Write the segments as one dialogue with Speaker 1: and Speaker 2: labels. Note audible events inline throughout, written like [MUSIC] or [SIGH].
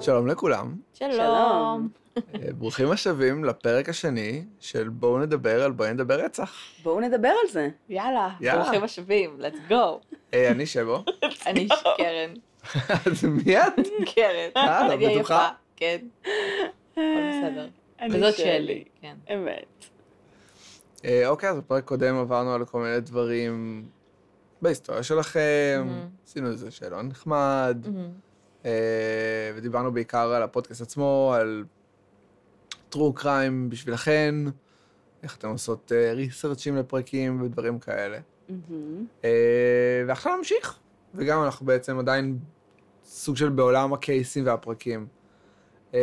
Speaker 1: שלום לכולם,
Speaker 2: שלום.
Speaker 3: שלום.
Speaker 1: אה, ברוכים השבים לפרק השני של בואו נדבר על בואי נדבר רצח.
Speaker 3: בואו נדבר על זה.
Speaker 2: יאללה,
Speaker 1: יאללה.
Speaker 2: ברוכים השבים,
Speaker 1: [LAUGHS]
Speaker 2: let's go.
Speaker 1: אה, אני שבו.
Speaker 2: אני קרן,
Speaker 1: אז מי את?
Speaker 2: קרן.
Speaker 1: אה,
Speaker 2: אני
Speaker 1: בטוחה?
Speaker 2: עייפה, כן, הכל בסדר. וזאת שלי, כן.
Speaker 3: אמת.
Speaker 1: אה, אוקיי, אז בפרק קודם עברנו על כל מיני דברים בהיסטוריה שלכם,
Speaker 2: מהמם.
Speaker 1: עשינו איזה שאלון נחמד,
Speaker 2: מהמם.
Speaker 1: אה, ודיברנו בעיקר על הפודקאסט עצמו, על טרו קריים בשבילכן, איך אתם עושות אה, ריסרצ'ים לפרקים ודברים כאלה.
Speaker 3: מהמם.
Speaker 1: אה, ועכשיו נמשיך. וגם אנחנו בעצם עדיין סוג של בעולם הקייסים והפרקים. אה,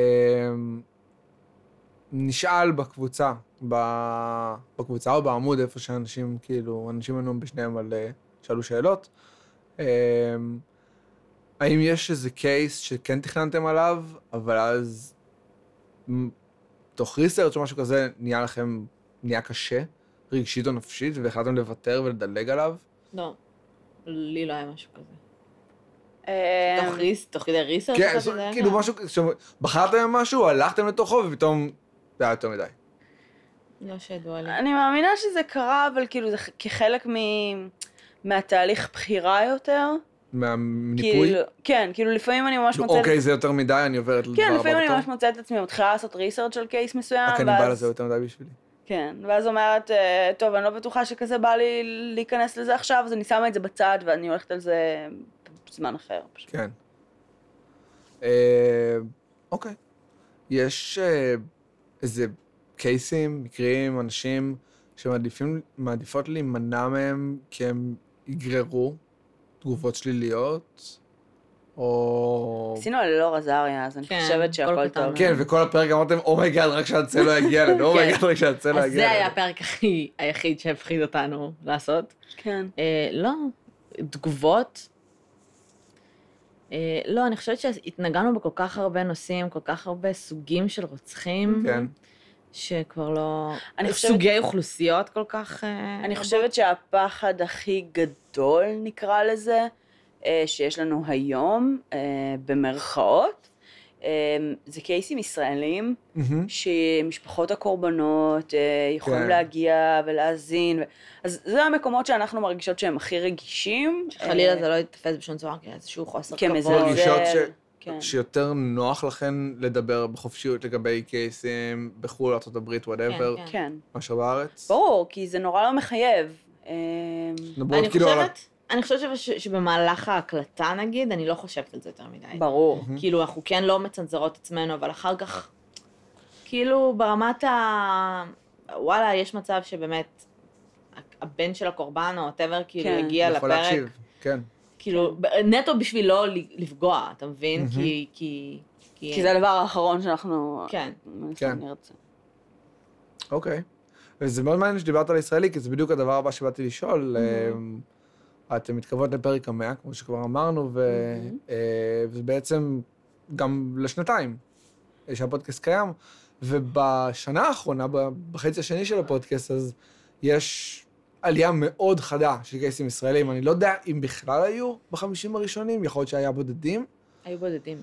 Speaker 1: נשאל בקבוצה, ב- בקבוצה או בעמוד, איפה שאנשים, כאילו, אנשים ענו בשניהם על... אה, שאלו שאלות. אה, האם יש איזה קייס שכן תכננתם עליו, אבל אז מ- תוך ריסרצ' או משהו כזה, נהיה לכם, נהיה קשה, רגשית או נפשית, והחלטתם לוותר ולדלג עליו?
Speaker 2: לא, לי לא היה משהו כזה.
Speaker 3: אה,
Speaker 2: תוך ריס, תוך כדי ריסר?
Speaker 1: כן, זו- כאילו משהו, בחרתם במשהו, הלכתם לתוכו, ופתאום זה היה יותר מדי.
Speaker 2: לא שידוע לי.
Speaker 3: אני מאמינה שזה קרה, אבל כאילו זה כחלק מ... מהתהליך בחירה יותר.
Speaker 1: מהניפוי?
Speaker 3: כאילו, כן, כאילו לפעמים אני ממש מוצאת...
Speaker 1: אוקיי, זה יותר מדי, אני עוברת לדבר
Speaker 3: כן,
Speaker 1: הבא
Speaker 3: לפעמים אני
Speaker 1: בתור. "אוקיי,
Speaker 3: ממש מוצאת את עצמי מתחילה לעשות ריסרצ' על קייס מסוים,
Speaker 1: הקניבל הזה יותר מדי בשבילי.
Speaker 3: כן, ואז אומרת, אה, טוב, אני לא בטוחה שכזה בא לי להיכנס לזה עכשיו, אז אני שמה את זה בצד ואני הולכת על זה בזמן אחר. פשוט.
Speaker 1: כן. אה, אוקיי. יש אה, איזה קייסים, מקרים, אנשים שמעדיפים, מעדיפות להימנע מהם כי הם יגררו תגובות שליליות, או...
Speaker 3: עשינו על אלאור עזריה, אז אני
Speaker 2: כן,
Speaker 3: חושבת
Speaker 2: הכל
Speaker 3: שהכל
Speaker 2: קטן.
Speaker 3: טוב.
Speaker 1: כן, וכל הפרק אמרתם, אומייגאד, רק שהצל לא יגיע
Speaker 2: [LAUGHS]
Speaker 1: אלינו, אומייגאד, רק שהצל לא
Speaker 2: כן. אז
Speaker 1: יגיע
Speaker 2: זה היה
Speaker 1: אלינו.
Speaker 2: הפרק הכי היחיד שהפחיד אותנו לעשות.
Speaker 3: כן.
Speaker 2: אה, לא, תגובות. אה, לא, אני חושבת שהתנגענו בכל כך הרבה נושאים, כל כך הרבה סוגים של רוצחים,
Speaker 1: כן.
Speaker 2: שכבר לא...
Speaker 3: אני חושבת-
Speaker 2: סוגי אוכלוסיות כל כך... אה,
Speaker 3: אני חושבת שהפחד הכי גדול, נקרא לזה, אה, שיש לנו היום, אה, במרכאות, אה, זה קייסים ישראלים,
Speaker 1: מהמם.
Speaker 3: שמשפחות הקורבנות אה, יכולים
Speaker 1: כן.
Speaker 3: להגיע ולהאזין. ו- אז זה המקומות שאנחנו מרגישות שהם הכי רגישים.
Speaker 2: חלילה
Speaker 3: אה,
Speaker 2: זה לא יתפס בשום צורה כאיזשהו חוסר כבוד.
Speaker 3: כמזלזל.
Speaker 1: מרגישות ש-
Speaker 3: כן.
Speaker 1: שיותר נוח לכן לדבר בחופשיות לגבי קייסים בחו"ל, ארה"ב, וואטאבר,
Speaker 2: כן.
Speaker 3: כן.
Speaker 1: מאשר בארץ?
Speaker 3: ברור, כי זה נורא לא מחייב. אה,
Speaker 1: מדברות
Speaker 2: אני
Speaker 1: כאילו על... ה-
Speaker 2: חושבת, אני חושבת שבש- שבמהלך ההקלטה, נגיד, אני לא חושבת על זה יותר מדי.
Speaker 3: ברור.
Speaker 1: מהמם.
Speaker 2: כאילו, אנחנו כן לא מצנזרות עצמנו, אבל אחר כך, כאילו, ברמת ה... וואלה, יש מצב שבאמת הבן של הקורבן או וואטאבר, כאילו,
Speaker 3: כן.
Speaker 2: הגיע
Speaker 1: יכול
Speaker 2: לפרק,
Speaker 1: להקשיב, כן.
Speaker 2: כאילו, ב- נטו בשביל לא ל- לפגוע, אתה מבין?
Speaker 1: מהמם.
Speaker 2: כי... כי...
Speaker 3: כי זה לא- הדבר האחרון שאנחנו...
Speaker 2: כן.
Speaker 1: כן.
Speaker 3: נרצה.
Speaker 1: אוקיי. וזה מאוד מעניין שדיברת על ישראלי, כי זה בדיוק הדבר הבא שבאתי לשאול.
Speaker 2: מהמם.
Speaker 1: אה, אתם מתכוונות לפרק המאה, כמו שכבר אמרנו, ו...
Speaker 3: מהמם.
Speaker 1: אה, וזה בעצם גם לשנתיים אה, שהפודקאסט קיים. ובשנה האחרונה, ב- בחצי השני של הפודקאסט, אז יש עלייה מאוד חדה של קייסים ישראלים. אני לא יודע אם בכלל היו בחמישים הראשונים, יכול להיות שהיה בודדים.
Speaker 2: היו בודדים.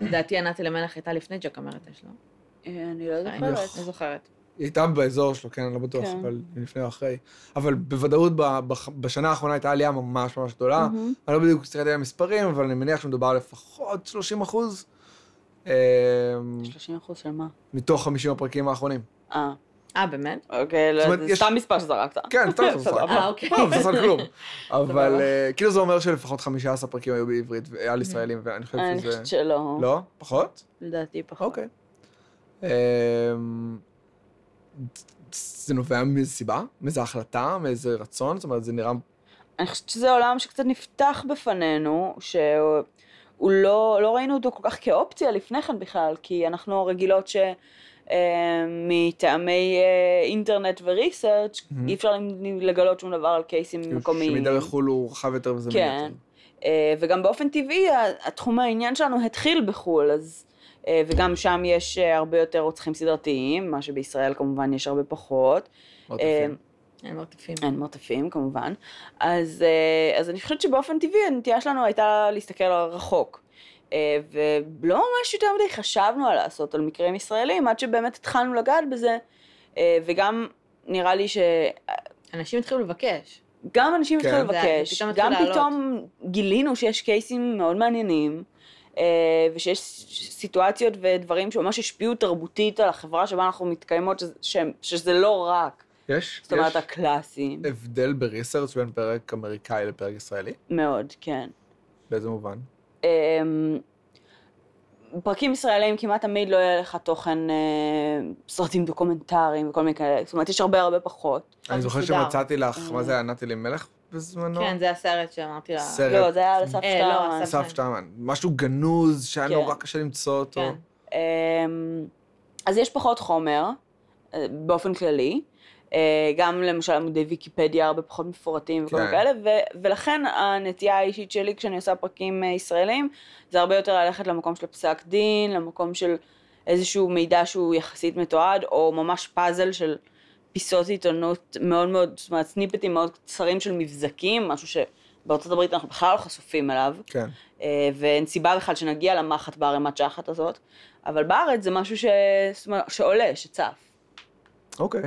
Speaker 2: לדעתי ענת אלימלך הייתה לפני ג'ק אמרטש, לא?
Speaker 3: אה, אני לא
Speaker 2: אני
Speaker 3: זוכרת.
Speaker 2: לא זוכרת.
Speaker 1: היא הייתה באזור שלו, כן, אני לא בטוח,
Speaker 3: כן.
Speaker 1: אבל לפני או אחרי. אבל בוודאות, ב- בח- בשנה האחרונה הייתה עלייה ממש ממש גדולה.
Speaker 3: מהמם.
Speaker 1: אני לא בדיוק הסתכלתי על המספרים, אבל אני מניח שמדובר על לפחות 30 אחוז אה,
Speaker 3: 30 אחוז של מה?
Speaker 1: מתוך 50 הפרקים האחרונים.
Speaker 3: אה.
Speaker 2: אה, באמת?
Speaker 3: אוקיי,
Speaker 1: זאת
Speaker 3: לא,
Speaker 1: אומרת,
Speaker 3: זה
Speaker 1: יש-
Speaker 3: סתם מספר שזרקת.
Speaker 1: כן, סתם סתם
Speaker 3: סבבה.
Speaker 1: סתם.
Speaker 2: אה, אוקיי.
Speaker 1: לא, מבוסס על
Speaker 3: [LAUGHS]
Speaker 1: כלום. אבל
Speaker 2: סבבה.
Speaker 1: אה, כאילו זה אומר שלפחות 15 פרקים היו בעברית, ו- על ישראלים, ואני חושב
Speaker 3: אני
Speaker 1: שזה...
Speaker 3: חושבת שלא.
Speaker 1: לא? פחות?
Speaker 3: לדעתי פחות.
Speaker 1: אוקיי. אמ, זה נובע מאיזה סיבה? מאיזה החלטה? מאיזה רצון? זאת אומרת, זה נראה...
Speaker 3: אני חושבת שזה עולם שקצת נפתח בפנינו, שהוא הוא לא, לא ראינו אותו כל כך כאופציה לפני כן בכלל, כי אנחנו רגילות ש... אה, מטעמי אה, אינטרנט וריסרצ'
Speaker 1: Mhm.
Speaker 3: אי אפשר לגלות שום דבר על קייסים מקומיים.
Speaker 1: שמידע כאילו בחו"ל הוא רחב יותר וזה
Speaker 3: כן.
Speaker 1: מייתר.
Speaker 3: אה, וגם באופן טבעי, ה- התחום העניין שלנו התחיל בחו"ל, אז... אה, וגם שם יש אה, הרבה יותר רוצחים סדרתיים, מה שבישראל כמובן יש הרבה פחות.
Speaker 1: מאוד
Speaker 3: אה,
Speaker 1: יפה.
Speaker 2: אין מרתפים.
Speaker 3: אין מרתפים כמובן. אז, אה, אז אני חושבת שבאופן טבעי הנטייה שלנו הייתה להסתכל רחוק. אה, ולא ממש יותר מדי חשבנו על לעשות על מקרים ישראלים, עד שבאמת התחלנו לגעת בזה, אה, וגם נראה לי ש...
Speaker 2: אנשים התחילו לבקש.
Speaker 3: גם אנשים
Speaker 1: כן.
Speaker 3: התחילו
Speaker 2: זה-
Speaker 3: לבקש,
Speaker 2: פתאום התחיל
Speaker 3: גם
Speaker 2: לעלות.
Speaker 3: פתאום גילינו שיש קייסים מאוד מעניינים, אה, ושיש ס- סיטואציות ודברים שממש השפיעו תרבותית על החברה שבה אנחנו מתקיימות, שזה, שהם- שזה לא רק,
Speaker 1: יש,
Speaker 3: זאת אומרת,
Speaker 1: יש
Speaker 3: הקלאסיים,
Speaker 1: הבדל בריסרצ' בין פרק אמריקאי לפרק ישראלי?
Speaker 3: מאוד, כן.
Speaker 1: באיזה מובן?
Speaker 3: אמ, פרקים ישראליים כמעט תמיד לא יהיה לך תוכן, אה, סרטים דוקומנטריים וכל מיני כאלה, זאת אומרת, יש הרבה הרבה פחות.
Speaker 1: אני זוכר
Speaker 2: מסודר.
Speaker 1: שמצאתי לך,
Speaker 3: אה.
Speaker 1: מה זה היה נטלי מלך בזמנו?
Speaker 2: כן, זה הסרט שאמרתי לה.
Speaker 1: סרט.
Speaker 3: לא, זה היה על אסף
Speaker 2: אה, לא,
Speaker 3: שטרמן.
Speaker 2: אסף-
Speaker 1: אסף שטרמן, משהו גנוז שהיה
Speaker 3: כן.
Speaker 1: נורא קשה למצוא אותו.
Speaker 2: כן.
Speaker 3: אמ, אז יש פחות חומר, אה, באופן כללי. אה, גם למשל עמודי ויקיפדיה הרבה פחות מפורטים וכל
Speaker 1: כן.
Speaker 3: מיני כאלה, ו- ולכן הנטייה האישית שלי כשאני עושה פרקים אה, ישראלים, זה הרבה יותר ללכת למקום של הפסק דין, למקום של איזשהו מידע שהוא יחסית מתועד, או ממש פאזל של פיסות עיתונות מאוד מאוד, זאת אומרת סניפטים מאוד קצרים של מבזקים, משהו שבארצות הברית אנחנו בכלל לא חשופים אליו.
Speaker 1: כן.
Speaker 3: אה, ואין סיבה בכלל שנגיע למחט בערימת שחת הזאת, אבל בארץ זה משהו ש... זאת אומרת, שעולה, שצף.
Speaker 1: אוקיי.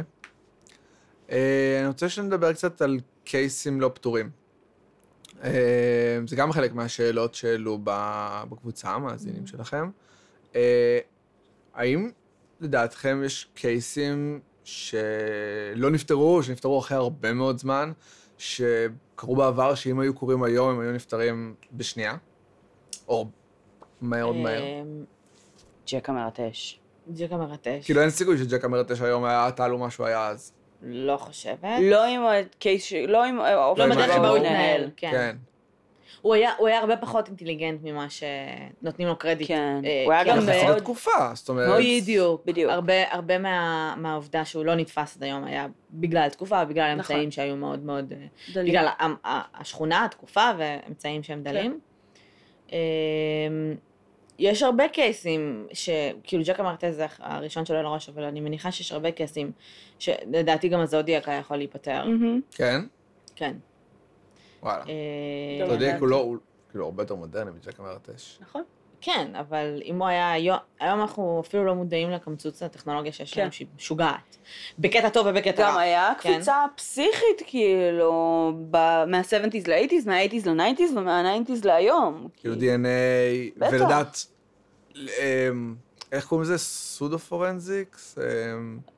Speaker 1: אה, אני רוצה שנדבר קצת על קייסים לא פתורים. אה, זה גם חלק מהשאלות שהעלו ב- בקבוצה, המאזינים שלכם. אה, האם לדעתכם יש קייסים שלא נפתרו, או שנפתרו אחרי הרבה מאוד זמן, שקרו בעבר, שאם היו קורים היום, הם היו נפתרים בשנייה? או מאוד מהר.
Speaker 2: אמ,
Speaker 3: ג'ק המרטש.
Speaker 2: ג'קה מרטש.
Speaker 1: כאילו אין סיכוי שג'ק המרטש היום היה תעלומה שהוא היה אז.
Speaker 2: לא חושבת.
Speaker 3: לא עם הקייס, ש- לא עם האופן
Speaker 2: לא
Speaker 1: עם
Speaker 2: בדרך
Speaker 1: הדרך
Speaker 2: שבה
Speaker 1: שבו
Speaker 2: הוא
Speaker 1: הוא
Speaker 2: התנהל. כן.
Speaker 1: כן.
Speaker 2: הוא היה הוא היה הרבה פחות אינטליגנט ממה שנותנים לו קרדיט.
Speaker 3: כן.
Speaker 2: אה,
Speaker 3: הוא היה
Speaker 2: כאילו,
Speaker 3: גם
Speaker 1: גם
Speaker 2: זה-
Speaker 1: יחסית
Speaker 3: מאוד-
Speaker 1: התקופה, זאת אומרת.
Speaker 2: בדיוק.
Speaker 3: בדיוק.
Speaker 2: הרבה, הרבה מה, מהעובדה שהוא לא נתפס עד היום היה בגלל התקופה, בגלל
Speaker 3: נכון.
Speaker 2: אמצעים שהיו מאוד מאוד... אה,
Speaker 3: דליל.
Speaker 2: בגלל ה- ה- השכונה, התקופה ואמצעים שהם
Speaker 3: כן.
Speaker 2: דלים. אמ, יש הרבה קייסים, שכאילו ג'ק אמרת זה הראשון שלו לראש, אבל אני מניחה שיש הרבה קייסים, שלדעתי גם הזודיאק היה יכול להיפתר.
Speaker 3: מהמם.
Speaker 1: כן?
Speaker 2: כן.
Speaker 1: וואלה.
Speaker 2: אה,
Speaker 1: אתה יודע,
Speaker 3: הבנתי.
Speaker 1: כאילו, לא- הוא כאילו הרבה יותר מודרני מג'ק המרטש.
Speaker 3: נכון.
Speaker 2: כן, אבל אם הוא היה היום, היום אנחנו אפילו לא מודעים לקמצוץ הטכנולוגיה שיש
Speaker 3: כן.
Speaker 2: לנו, שהיא משוגעת. בקטע טוב ובקטע
Speaker 3: גם
Speaker 2: רע.
Speaker 3: היה
Speaker 2: כן.
Speaker 3: קפיצה פסיכית, כאילו, ב- מה-70's ל-80's, מה-80's ל-90's ומה-90's להיום.
Speaker 1: כאילו DNA,
Speaker 3: אוקיי. בטח.
Speaker 1: ולדעת, אמ, איך קוראים לזה? אמ, סודו פורנזיקס?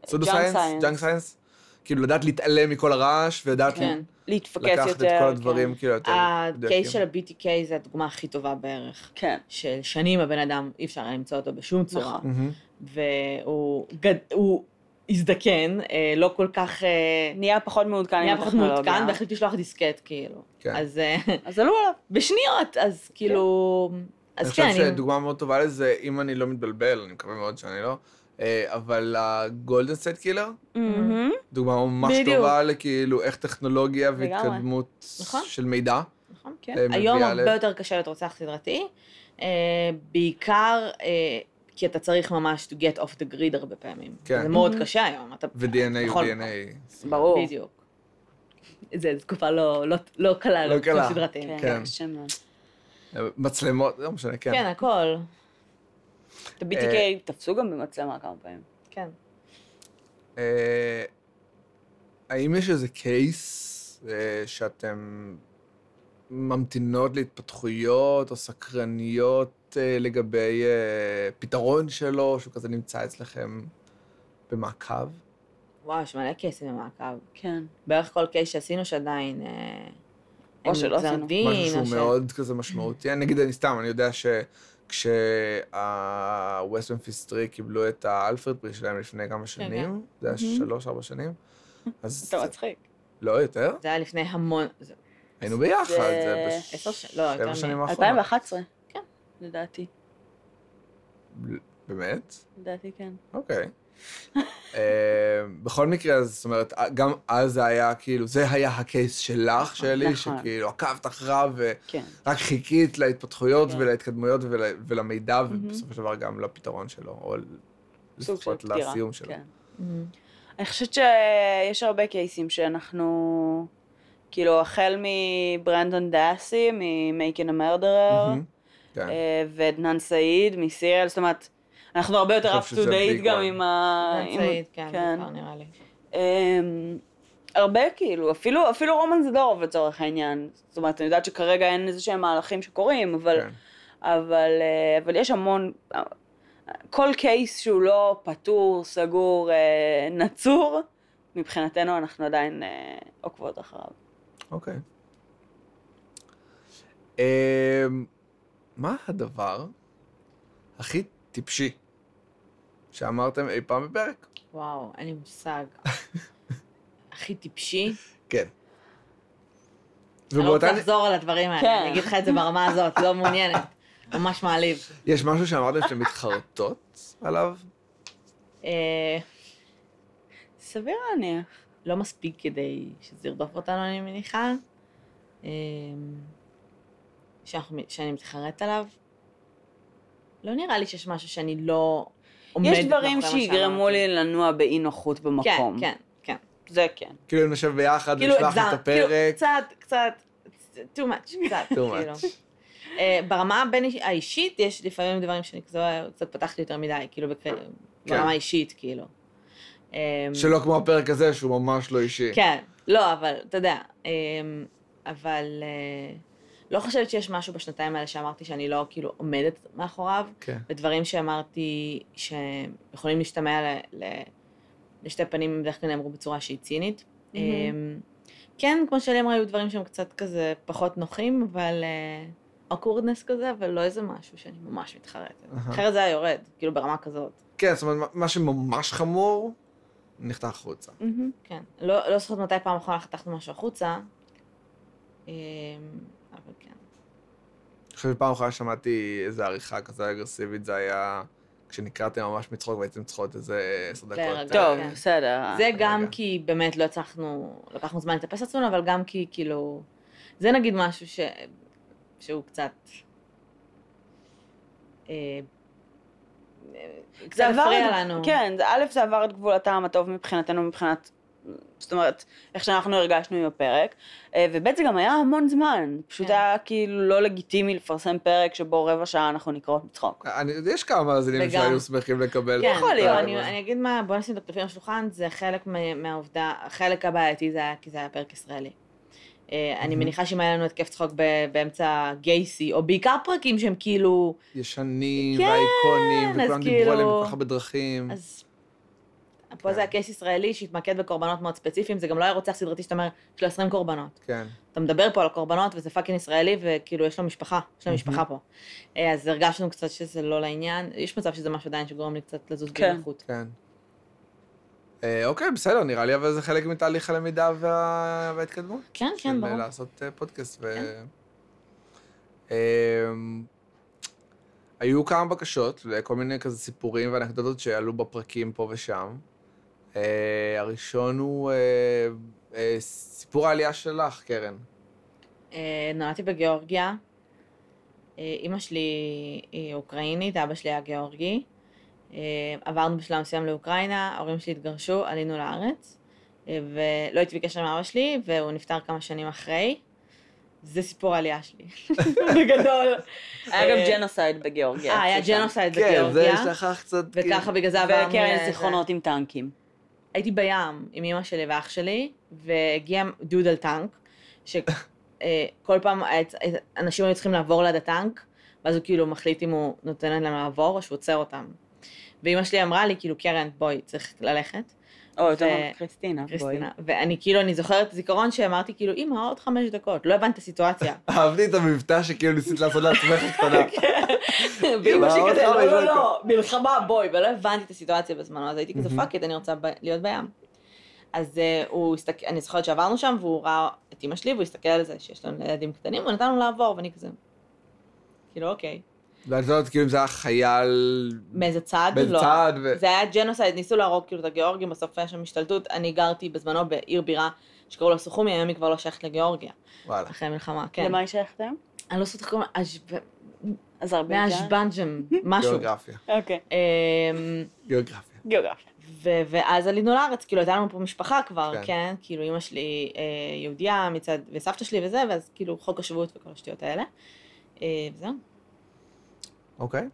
Speaker 1: סודו
Speaker 3: אה, science.
Speaker 1: סיינס? ג'אנק סיינס? כאילו, לדעת להתעלם מכל הרעש, ולדעת
Speaker 2: כן.
Speaker 3: להתפקס יותר.
Speaker 1: לקחת את כל
Speaker 3: כן.
Speaker 1: הדברים, כאילו, יותר מדויקים.
Speaker 2: הקייס של ה-BTK זה הדוגמה הכי טובה בערך.
Speaker 3: כן.
Speaker 2: של שנים הבן אדם, אי אפשר היה למצוא אותו בשום צורה.
Speaker 3: נכון.
Speaker 1: מהמם.
Speaker 2: והוא גד... הוא הזדקן, אה, לא כל כך... אה,
Speaker 3: נהיה פחות מעודכן עם
Speaker 2: נהיה פחות
Speaker 3: הטכנולוגיה.
Speaker 2: מעודכן, והחליט לשלוח דיסקט, כאילו.
Speaker 1: כן.
Speaker 2: אז אה, [LAUGHS]
Speaker 3: אז עלו עליו.
Speaker 2: בשניות, אז כאילו...
Speaker 1: אני
Speaker 2: אז כן,
Speaker 1: חושב
Speaker 2: אני...
Speaker 1: שדוגמה מאוד טובה לזה, אם אני לא מתבלבל, אני מקווה מאוד שאני לא, אה, אבל הגולדן סט קילר,
Speaker 3: מהמם.
Speaker 1: דוגמה ממש
Speaker 2: בדיוק.
Speaker 1: טובה לכאילו איך טכנולוגיה
Speaker 3: לגמרי.
Speaker 1: והתקדמות
Speaker 2: נכון.
Speaker 1: של מידע.
Speaker 2: נכון.
Speaker 3: כן.
Speaker 1: אה, מביאה
Speaker 2: היום
Speaker 1: ל-
Speaker 2: הרבה יותר קשה להיות רוצח סדרתי, אה, בעיקר אה, כי אתה צריך ממש to get off the grid הרבה פעמים.
Speaker 1: כן.
Speaker 2: זה מאוד
Speaker 3: Mhm.
Speaker 2: קשה היום. אתה-
Speaker 1: ו-DNA הוא
Speaker 2: בכל
Speaker 1: DNA.
Speaker 3: ברור.
Speaker 2: בדיוק. זו תקופה לא, לא, לא קלה,
Speaker 1: לא קלה.
Speaker 2: סדרתיים. כן.
Speaker 1: כן.
Speaker 3: קשה מאוד.
Speaker 1: מצלמות, לא משנה, כן.
Speaker 2: כן, הכל.
Speaker 3: את ה-BTK תפסו גם במצלמה כמה פעמים.
Speaker 2: כן.
Speaker 1: אה, האם יש איזה קייס אה, שאתם ממתינות להתפתחויות או סקרניות אה, לגבי אה, פתרון שלו, שהוא כזה נמצא אצלכם במעקב?
Speaker 2: וואו, יש מלא קייסים במעקב.
Speaker 3: כן.
Speaker 2: בערך כל קייס שעשינו שעדיין... אה,
Speaker 3: או
Speaker 2: אין
Speaker 3: שלא
Speaker 2: גזר
Speaker 3: עשינו.
Speaker 2: דין,
Speaker 1: משהו
Speaker 2: או ש-
Speaker 1: שהוא מאוד כזה משמעותי. אני נגיד, אני סתם, אני יודע שכשה-West Memphis 3 קיבלו את האלפרד פרי שלהם לפני כמה שנים, זה היה
Speaker 3: מהמם.
Speaker 1: שלוש, ארבע שנים, אז
Speaker 3: אתה מצחיק.
Speaker 1: לא יותר,
Speaker 2: זה היה לפני המון... זה-
Speaker 1: היינו ביחד,
Speaker 3: זה
Speaker 1: זה
Speaker 2: עשר שנים, לא, יותר
Speaker 1: בשבע שנים
Speaker 2: מ-
Speaker 1: האחרונות.
Speaker 3: 2011.
Speaker 2: כן.
Speaker 3: לדעתי.
Speaker 1: באמת?
Speaker 3: לדעתי כן.
Speaker 1: אוקיי. אה, בכל מקרה, אז זאת אומרת, גם אז זה היה כאילו, זה היה הקייס שלך, שלי,
Speaker 3: נכון.
Speaker 1: שכאילו עקבת אחריו, ו...
Speaker 3: כן.
Speaker 1: רק חיכית להתפתחויות
Speaker 2: כן.
Speaker 1: ולהתקדמויות ול, ולמידע,
Speaker 3: מהמם.
Speaker 1: ובסופו של דבר גם לפתרון שלו, או
Speaker 3: סוג של
Speaker 1: לפחות
Speaker 3: פטירה.
Speaker 1: לסיום שלו.
Speaker 3: כן.
Speaker 2: אמ,
Speaker 3: אני חושבת שיש הרבה קייסים שאנחנו... כאילו, החל מברנדון דאסי, מ-Making a Murderer,
Speaker 1: מהמם. כן.
Speaker 3: אה, ועדנאן סעיד מסיריאל, זאת אומרת, אנחנו הרבה יותר
Speaker 1: אני
Speaker 3: up
Speaker 1: חושב
Speaker 3: to
Speaker 1: שזה
Speaker 3: date
Speaker 1: ביג
Speaker 3: גם
Speaker 1: one.
Speaker 3: עם ה... עם-
Speaker 2: סעיד, כן,
Speaker 3: כן.
Speaker 2: בעיקר נראה לי.
Speaker 3: אמ, הרבה כאילו, אפילו, אפילו רומן זדורוב לצורך העניין. זאת אומרת, אני יודעת שכרגע אין איזה שהם מהלכים שקורים, אבל,
Speaker 1: כן.
Speaker 3: אבל, אה, אבל יש המון, אה, כל קייס שהוא לא פתור, סגור, אה, נצור, מבחינתנו אנחנו עדיין אה, עוקבות אחריו.
Speaker 1: אוקיי. אמ, מה הדבר הכי טיפשי שאמרתם אי פעם בפרק?
Speaker 2: וואו, אין לי מושג. הכי טיפשי.
Speaker 1: כן.
Speaker 2: אני
Speaker 1: [LAUGHS]
Speaker 2: לא
Speaker 1: ובאותה...
Speaker 2: רוצה לחזור על הדברים
Speaker 3: כן.
Speaker 2: האלה, אני אגיד לך את זה ברמה הזאת, לא מעוניינת. ממש מעליב.
Speaker 1: יש משהו שאמרתם שאתם מתחרטות עליו?
Speaker 2: אה,
Speaker 3: סביר להניח.
Speaker 2: לא מספיק כדי שזה ירדוף אותנו, אני מניחה. אה, שאנחנו, שאני מתחרט עליו. לא נראה לי שיש משהו שאני לא עומדת
Speaker 3: יש דברים
Speaker 2: מאחורי מה
Speaker 3: שיגרמו
Speaker 2: שאמרתי.
Speaker 3: לי לנוע באי נוחות
Speaker 2: כן,
Speaker 3: במקום.
Speaker 2: כן, כן.
Speaker 3: זה כן.
Speaker 1: כאילו נשב ביחד,
Speaker 2: כאילו
Speaker 1: נשלח
Speaker 2: הגזם,
Speaker 1: את הפרק.
Speaker 2: כאילו קצת, קצת, too much, קצת,
Speaker 1: Too
Speaker 2: כאילו.
Speaker 1: much.
Speaker 2: אה, ברמה הבין האישית, יש לפעמים דברים שאני כזה, קצת פתחתי יותר מדי, כאילו, בכ- ברמה האישית, כאילו. אה,
Speaker 1: כן. שלא כמו הפרק הזה, שהוא ממש לא אישי.
Speaker 2: כן, לא, אבל, אתה יודע, אמ, אבל אה, לא חושבת שיש משהו בשנתיים האלה שאמרתי שאני לא כאילו עומדת מאחוריו,
Speaker 1: כן.
Speaker 2: ודברים שאמרתי שיכולים להשתמע ל, ל, לשתי פנים, בדרך כלל נאמרו בצורה שהיא צינית.
Speaker 3: מהמם.
Speaker 2: אמ, כן, כמו שלי אמרה, היו דברים שהם קצת כזה פחות נוחים, אבל... אה, אוקורדנס כזה, אבל לא איזה משהו שאני ממש מתחרטת.
Speaker 1: אהה.
Speaker 2: אחרת זה היה יורד, כאילו ברמה כזאת.
Speaker 1: כן, זאת אומרת, מה- מה שממש חמור, נחתך החוצה.
Speaker 3: מהמם.
Speaker 2: כן. לא, לא זוכרת מתי פעם אחרונה חתכנו משהו החוצה, אמ, אבל כן.
Speaker 1: אני חושב שפעם אחרונה שמעתי איזו עריכה כזו אגרסיבית, זה היה כשנקרעתם ממש מצחוק והייתם צריכות איזה עשר דקות.
Speaker 2: להירגע.
Speaker 1: אה,
Speaker 3: טוב,
Speaker 2: כן.
Speaker 3: בסדר.
Speaker 2: זה גם
Speaker 1: רגע.
Speaker 2: כי באמת לא הצלחנו, לקחנו זמן לטפס עצמנו, אבל גם כי כאילו... זה נגיד משהו ש... שהוא קצת... אה, אה, קצת
Speaker 3: עבר
Speaker 2: הפריע
Speaker 3: את-
Speaker 2: לנו.
Speaker 3: כן, זה, א', זה עבר את גבול הטעם הטוב מבחינתנו, מבחינת... זאת אומרת, איך שאנחנו הרגשנו עם הפרק. אה, וב' זה גם היה המון זמן. פשוט
Speaker 2: כן.
Speaker 3: היה כאילו לא לגיטימי לפרסם פרק שבו רבע שעה אנחנו נקראות מצחוק.
Speaker 1: אני, יש כמה מאזינים
Speaker 2: וגם-
Speaker 1: שהיו שמחים לקבל.
Speaker 2: כן,
Speaker 3: יכול
Speaker 2: לא,
Speaker 3: להיות.
Speaker 2: אני, אני אגיד מה, בוא נשים את הכתפים על השולחן, זה חלק מה- מהעובדה, החלק הבעייתי זה היה כי זה היה פרק ישראלי. אה, אני
Speaker 1: Mhm.
Speaker 2: מניחה שאם היה לנו התקף צחוק ב- באמצע גייסי, או בעיקר פרקים שהם כאילו...
Speaker 1: ישנים,
Speaker 2: כן,
Speaker 1: והאיקונים,
Speaker 2: אז
Speaker 1: וכולם דיברו עליהם
Speaker 2: כאילו-
Speaker 1: בכל כך הרבה דרכים.
Speaker 2: אז... פה
Speaker 3: כן.
Speaker 2: זה היה קייס ישראלי שהתמקד בקורבנות מאוד ספציפיים, זה גם לא היה רוצח סדרתי שאתה אומר, יש לו 20 קורבנות.
Speaker 1: כן.
Speaker 2: אתה מדבר פה על קורבנות וזה פאקינג ישראלי, וכאילו יש לו משפחה, יש לו
Speaker 1: Mhm.
Speaker 2: משפחה פה. אה, אז הרגשנו קצת שזה לא לעניין, יש מצב שזה משהו עדיין שגורם לי קצת לזוז
Speaker 3: כן.
Speaker 2: בנוחות.
Speaker 1: כן. אה, אוקיי, בסדר, נראה לי, אבל זה חלק מתהליך הלמידה וה... וההתקדמות.
Speaker 2: כן, כן, ברור.
Speaker 1: של אה, לעשות אה, פודקאסט. ו...
Speaker 2: כן.
Speaker 1: אמ, היו כמה בקשות לכל מיני כזה סיפורים ואנקדוטות שעלו בפרקים פה ושם. אה, הראשון הוא אה, אה, סיפור העלייה שלך, קרן.
Speaker 2: אה, נולדתי בגיאורגיה. אה, אימא שלי היא אוקראינית, אבא שלי היה גיאורגי. אה, עברנו בשלב מסוים לאוקראינה, ההורים שלי התגרשו, עלינו לארץ. אה, ולא הייתי בקשר עם אבא שלי, והוא נפטר כמה שנים אחרי. זה סיפור העלייה
Speaker 1: [LAUGHS]
Speaker 2: שלי. בגדול.
Speaker 3: היה גם
Speaker 2: אה,
Speaker 3: ג'נוסייד בגיאורגיה.
Speaker 2: אה, היה
Speaker 3: אצל שם.
Speaker 2: ג'נוסייד אה,
Speaker 1: כן, זה
Speaker 2: בגיאורגיה.
Speaker 1: יש לך קצת...
Speaker 2: וככה
Speaker 1: כאילו-
Speaker 2: בגלל זה עברנו...
Speaker 3: וקרן
Speaker 2: לזה.
Speaker 3: זיכרונות עם טנקים.
Speaker 2: הייתי בים עם אמא שלי ואח שלי, והגיע דוד על טנק, שכל פעם היה צ- אנשים היו צריכים לעבור ליד הטנק, ואז הוא כאילו מחליט אם הוא נותן להם לעבור או שהוא עוצר אותם. ואימא שלי אמרה לי, כאילו, קרן, בואי, צריך ללכת.
Speaker 3: או יותר
Speaker 2: ו-
Speaker 3: נכון, קריסטינה.
Speaker 2: קריסטינה. ואני כאילו, אני זוכרת זיכרון שאמרתי, כאילו, אמא, עוד חמש דקות. לא הבנתי את הסיטואציה.
Speaker 1: אהבתי את המבטא שכאילו ניסית לעשות לעצמך
Speaker 2: [LAUGHS]
Speaker 1: קטנה.
Speaker 2: כן. ואימא שלי
Speaker 1: עוד
Speaker 2: כזה, לא,
Speaker 1: חמש
Speaker 2: לא, לא,
Speaker 1: דקות."
Speaker 2: מלחמה, בואי, ולא הבנתי את הסיטואציה בזמנו, אז הייתי כזה
Speaker 1: מהמם.
Speaker 2: פאק איט, אני רוצה ב- להיות בים. אז אה, הוא הסתכל, אני זוכרת שעברנו שם, והוא ראה את אימא שלי, והוא הסתכל על זה שיש לנו ילדים קטנים, הוא נתן לנו לעבור, ואני כזה, כאילו, אוקיי.
Speaker 1: ואת יודעת, כאילו, אם זה היה חייל...
Speaker 2: מאיזה צד?
Speaker 1: באיזה
Speaker 2: לא.
Speaker 1: צד, ו-
Speaker 2: זה היה ג'נוסייד, ניסו להרוג כאילו את הגיאורגים, בסוף היה שם השתלטות. אני גרתי בזמנו בעיר בירה שקראו לה סוחומי, היום היא כבר לא שייכת לגיאורגיה,
Speaker 1: וואלה.
Speaker 2: אחרי המלחמה, כן.
Speaker 3: למה היא שייכתם?
Speaker 2: אני לא זוכרת קוראים לה, אז'ב-
Speaker 3: אזרבייג'ן.
Speaker 2: מאז'בנג'ם, משהו.
Speaker 1: גיאוגרפיה.
Speaker 3: אוקיי.
Speaker 2: אמ,
Speaker 1: גיאוגרפיה.
Speaker 3: גיאוגרפיה.
Speaker 2: ו- ואז עלינו לארץ, כאילו הייתה לנו פה משפחה כבר,
Speaker 1: כן.
Speaker 2: כן? כן? כאילו אימא שלי אה, יהודייה מצד, וסבתא שלי וזה, ואז כאילו חוק השבות וכל השטויות האלה. אה, וזהו.
Speaker 1: אוקיי?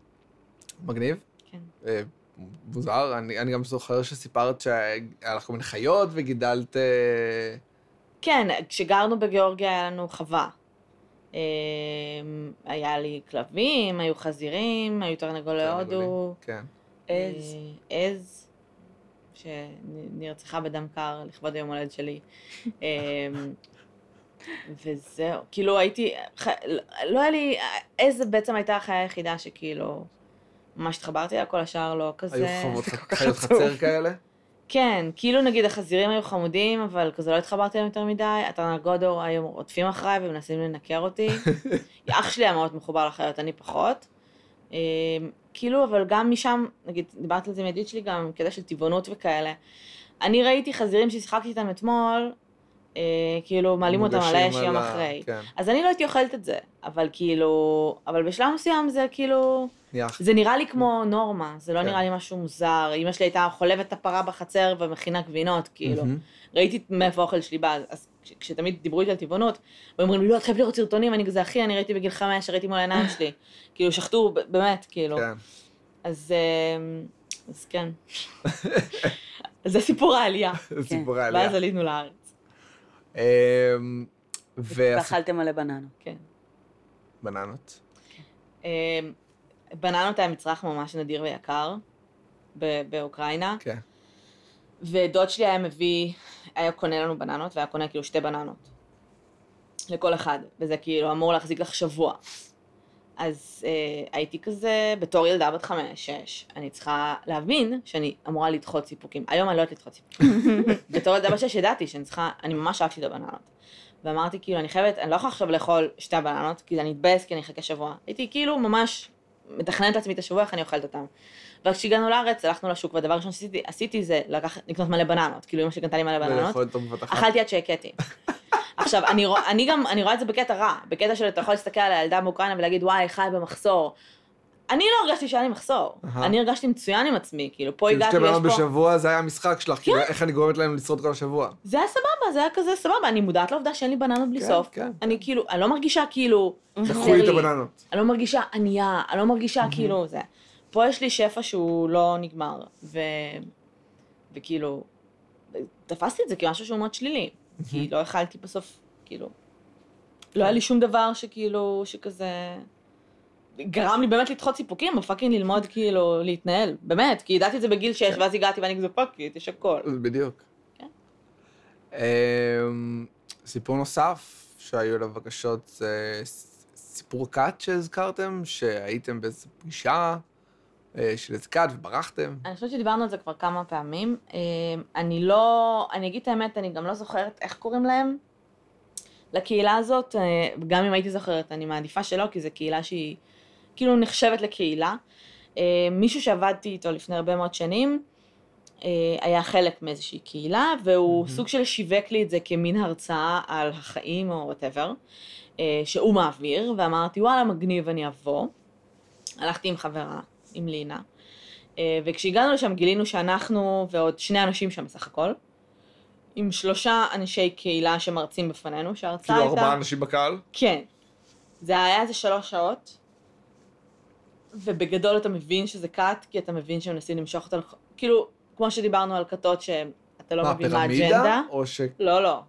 Speaker 1: מגניב.
Speaker 2: כן.
Speaker 1: אה, מוזר, אני, אני גם זוכר שסיפרת שהיה לך כל מיני חיות וגידלת... אה,
Speaker 2: כן, כשגרנו בגיאורגיה היה לנו חווה. אמ, היה לי כלבים, היו חזירים, היו תרנגולי הודו,
Speaker 1: כן.
Speaker 3: עז.
Speaker 2: אה, עז, שנרצחה בדם קר לכבוד היום הולד שלי. אמ, וזהו, כאילו הייתי, ח... לא היה לי, עז בעצם הייתה החיה היחידה שכאילו, ממש התחברתי לה, כל השאר לא כזה.
Speaker 1: היו חוות
Speaker 3: כל כך
Speaker 1: חיות
Speaker 3: עצוב.
Speaker 1: חצר כאלה?
Speaker 2: כן, כאילו נגיד החזירים היו חמודים, אבל כזה לא התחברתי אליהם יותר מדי, התרנגודו היו רודפים אחריי ומנסים לנקר
Speaker 1: [LAUGHS]
Speaker 2: אותי. אח שלי היה מאוד מחובר לחיות, אני פחות. אמ, כאילו, אבל גם משם, נגיד, דיברתי על זה עם ידיד שלי גם, קטע של טבעונות וכאלה. אני ראיתי חזירים ששיחקתי איתם אתמול, אה, כאילו, מעלים אותם על
Speaker 1: מוגשים
Speaker 2: האש יום
Speaker 1: ה-
Speaker 2: אחרי.
Speaker 1: כן,
Speaker 2: אז אני לא הייתי אוכלת את זה, אבל כאילו, אבל בשלב מסוים זה כאילו,
Speaker 1: נהיה
Speaker 2: זה נראה לי כמו נורמה, זה לא
Speaker 1: כן.
Speaker 2: נראה לי משהו מוזר. אמא שלי הייתה חולבת את הפרה בחצר ומכינה גבינות, כאילו.
Speaker 1: מהמם.
Speaker 2: ראיתי מאיפה האוכל שלי בא, אז- אז כש- כשתמיד דיברו איתי על טבעונות, היו אומרים לי, לא, את חייבת לראות סרטונים, אני כזה, אחי, אני ראיתי בגיל חמש, ראיתי מול העיניים
Speaker 1: [LAUGHS]
Speaker 2: שלי. כאילו, שחטו, ב- באמת, כאילו.
Speaker 1: כן.
Speaker 2: אז אמ, אז כן. [LAUGHS] אז זה סיפור העלייה.
Speaker 1: סיפורי עלייה.
Speaker 2: כן. ואז עלינו לארץ.
Speaker 1: אמ, ועשית
Speaker 3: ואכלתם מלא בננות.
Speaker 1: בננות.
Speaker 2: אמ, בננות היה מצרך ממש נדיר ויקר ב- באוקראינה.
Speaker 1: כן.
Speaker 2: ודוד שלי היה מביא, היה קונה לנו בננות, והיה קונה כאילו שתי בננות. לכל אחד, וזה כאילו אמור להחזיק לך שבוע. אז אה, הייתי כזה, בתור ילדה בת חמש-שש, אני צריכה להבין שאני אמורה לדחות סיפוקים. היום אני לא יודעת לדחות סיפוקים. בתור ילדה בת שש ידעתי שאני צריכה, אני ממש אהבתי את הבננות. ואמרתי כאילו, אני חייבת, אני לא יכולה עכשיו לאכול שתי הבננות, כי אני אתבאס, כי אני אחכה שבוע. הייתי כאילו ממש מתכננת לעצמי את השבוע, איך אני אוכלת אותם. וכשהגענו לארץ, הלכנו לשוק, והדבר הראשון שעשיתי עשיתי זה לקחת, לקנות מלא בננות. כאילו, אמא שלי קנתה לי מלא בננות.
Speaker 1: ולאכול אותם בבת אחת.
Speaker 2: אכלתי עד שהכיתי. עכשיו, אני, רוא, אני גם, אני רואה את זה בקטע רע, בקטע של אתה יכול להסתכל על הילדה מאוקראינה ולהגיד, וואי, חי במחסור. אני לא הרגשתי שהיה לי מחסור,
Speaker 1: אהה.
Speaker 2: אני הרגשתי מצוין עם עצמי, כאילו, פה
Speaker 1: כאילו
Speaker 2: הגעתי,
Speaker 1: שתי
Speaker 2: יש
Speaker 1: בנות
Speaker 2: פה... כן.
Speaker 1: בשבוע, זה היה המשחק שלך, כאילו איך אני גורמת להם לשרוד כל השבוע.
Speaker 2: זה היה סבבה, זה היה כזה סבבה, אני מודעת לעובדה שאין לי בננות בלי
Speaker 1: כן,
Speaker 2: סוף.
Speaker 1: כן.
Speaker 2: אני כאילו, אני לא מרגישה כאילו...
Speaker 1: דחו
Speaker 2: חסר
Speaker 1: לי את
Speaker 2: לי.
Speaker 1: הבננות.
Speaker 2: אני לא מרגישה ענייה, אני לא מרגישה כאילו זה. פה יש לי שפע שהוא לא נגמר, ו... וכאילו, תפסתי את זה כמשהו שהוא מאוד שלילי, כי לא אכלתי בסוף, כאילו, לא היה לי שום דבר שכאילו, שכזה... גרם לי באמת לדחות סיפוקים, או פאקינג ללמוד כאילו להתנהל, באמת, כי ידעתי את זה בגיל 6,
Speaker 1: כן.
Speaker 2: ואז הגעתי ואני כזה פאקינג, יש הכל.
Speaker 1: בדיוק.
Speaker 2: כן.
Speaker 1: אמ, סיפור נוסף שהיו עליו בקשות זה ס- סיפור כת שהזכרתם, שהייתם באיזו פגישה אה, של איזה כת וברחתם.
Speaker 2: אני חושבת שדיברנו על זה כבר כמה פעמים. אה, אני לא, אני אגיד את האמת, אני גם לא זוכרת איך קוראים להם. לקהילה הזאת, אה, גם אם הייתי זוכרת, אני מעדיפה שלא, כי זו קהילה שהיא כאילו נחשבת לקהילה. אה, מישהו שעבדתי איתו לפני הרבה מאוד שנים, אה, היה חלק מאיזושהי קהילה, והוא
Speaker 1: מהמם.
Speaker 2: סוג של שיווק לי את זה כמין הרצאה על החיים או וואטאבר, שהוא מעביר, ואמרתי, וואלה, מגניב, אני אבוא. הלכתי עם חברה, עם לינה, אה, וכשהגענו לשם גילינו שאנחנו ועוד שני אנשים שם בסך הכל, עם שלושה אנשי קהילה שמרצים בפנינו, שההרצאה
Speaker 1: כאילו
Speaker 2: הייתה...
Speaker 1: ארבעה אנשים בקהל.
Speaker 2: כן. זה היה איזה שלוש שעות, ובגדול אתה מבין שזה כת, כי אתה מבין שהם מנסים למשוך אותה, לכ- כאילו, כמו שדיברנו על כתות שאתה לא
Speaker 1: מה,
Speaker 2: מבין מה
Speaker 1: פירמידה?
Speaker 2: האג'נדה.
Speaker 1: או ש...
Speaker 2: לא, לא.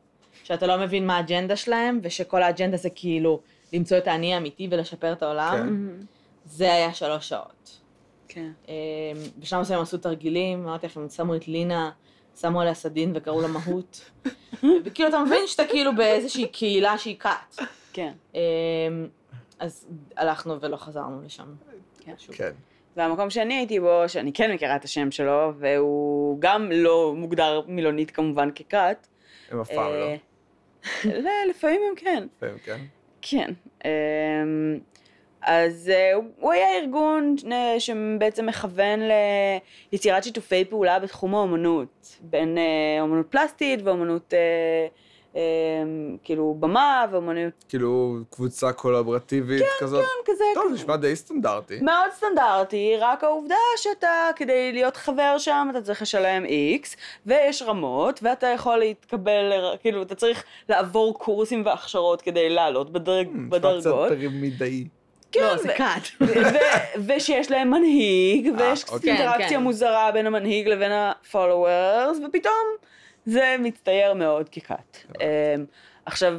Speaker 2: שאתה לא מבין מה האג'נדה שלהם, ושכל האג'נדה זה כאילו למצוא את האני האמיתי ולשפר את העולם.
Speaker 1: כן.
Speaker 2: זה היה שלוש שעות.
Speaker 3: כן.
Speaker 2: אמ, בשלב מסוים עשו תרגילים, אמרתי לכם, שמו את לינה, שמו עליה סדין וקראו לה מהות.
Speaker 1: [LAUGHS]
Speaker 2: וכאילו, אתה מבין שאתה כאילו באיזושהי קהילה שהיא כת.
Speaker 3: כן.
Speaker 2: אמ, אז הלכנו ולא חזרנו לשם.
Speaker 3: כן.
Speaker 2: שוב.
Speaker 1: כן.
Speaker 3: והמקום שאני הייתי בו, שאני כן מכירה את השם שלו, והוא גם לא מוגדר מילונית כמובן ככת.
Speaker 1: הם אף פעם לא.
Speaker 3: אה, [LAUGHS] לא, לפעמים הם כן.
Speaker 1: לפעמים כן.
Speaker 3: כן. אמ, אז אה, הוא- הוא היה ארגון אה, שבעצם מכוון ליצירת שיתופי פעולה בתחום האומנות, בין אה, אומנות פלסטית ואומנות אה, אמ, כאילו במה ואומנות
Speaker 1: כאילו קבוצה קולברטיבית כזאת.
Speaker 3: כזה.
Speaker 1: טוב, זה נשמע די סטנדרטי.
Speaker 3: מאוד סטנדרטי, רק העובדה שאתה, כדי להיות חבר שם, אתה צריך לשלם איקס, ויש רמות, ואתה יכול להתקבל, לר- כאילו, אתה צריך לעבור קורסים והכשרות כדי לעלות בדרג,
Speaker 1: Hmm, נשמע
Speaker 3: בדרגות.
Speaker 1: קצת פירמידאי.
Speaker 3: כן,
Speaker 2: לא, זה
Speaker 3: ו-
Speaker 2: קאט.
Speaker 3: ו- ושיש להם מנהיג,
Speaker 1: אה,
Speaker 3: ויש
Speaker 1: אוקיי.
Speaker 3: אינטראקציה
Speaker 2: כן, כן.
Speaker 3: מוזרה בין המנהיג לבין ה-followers, ופתאום זה מצטייר מאוד ככת. אמ, עכשיו,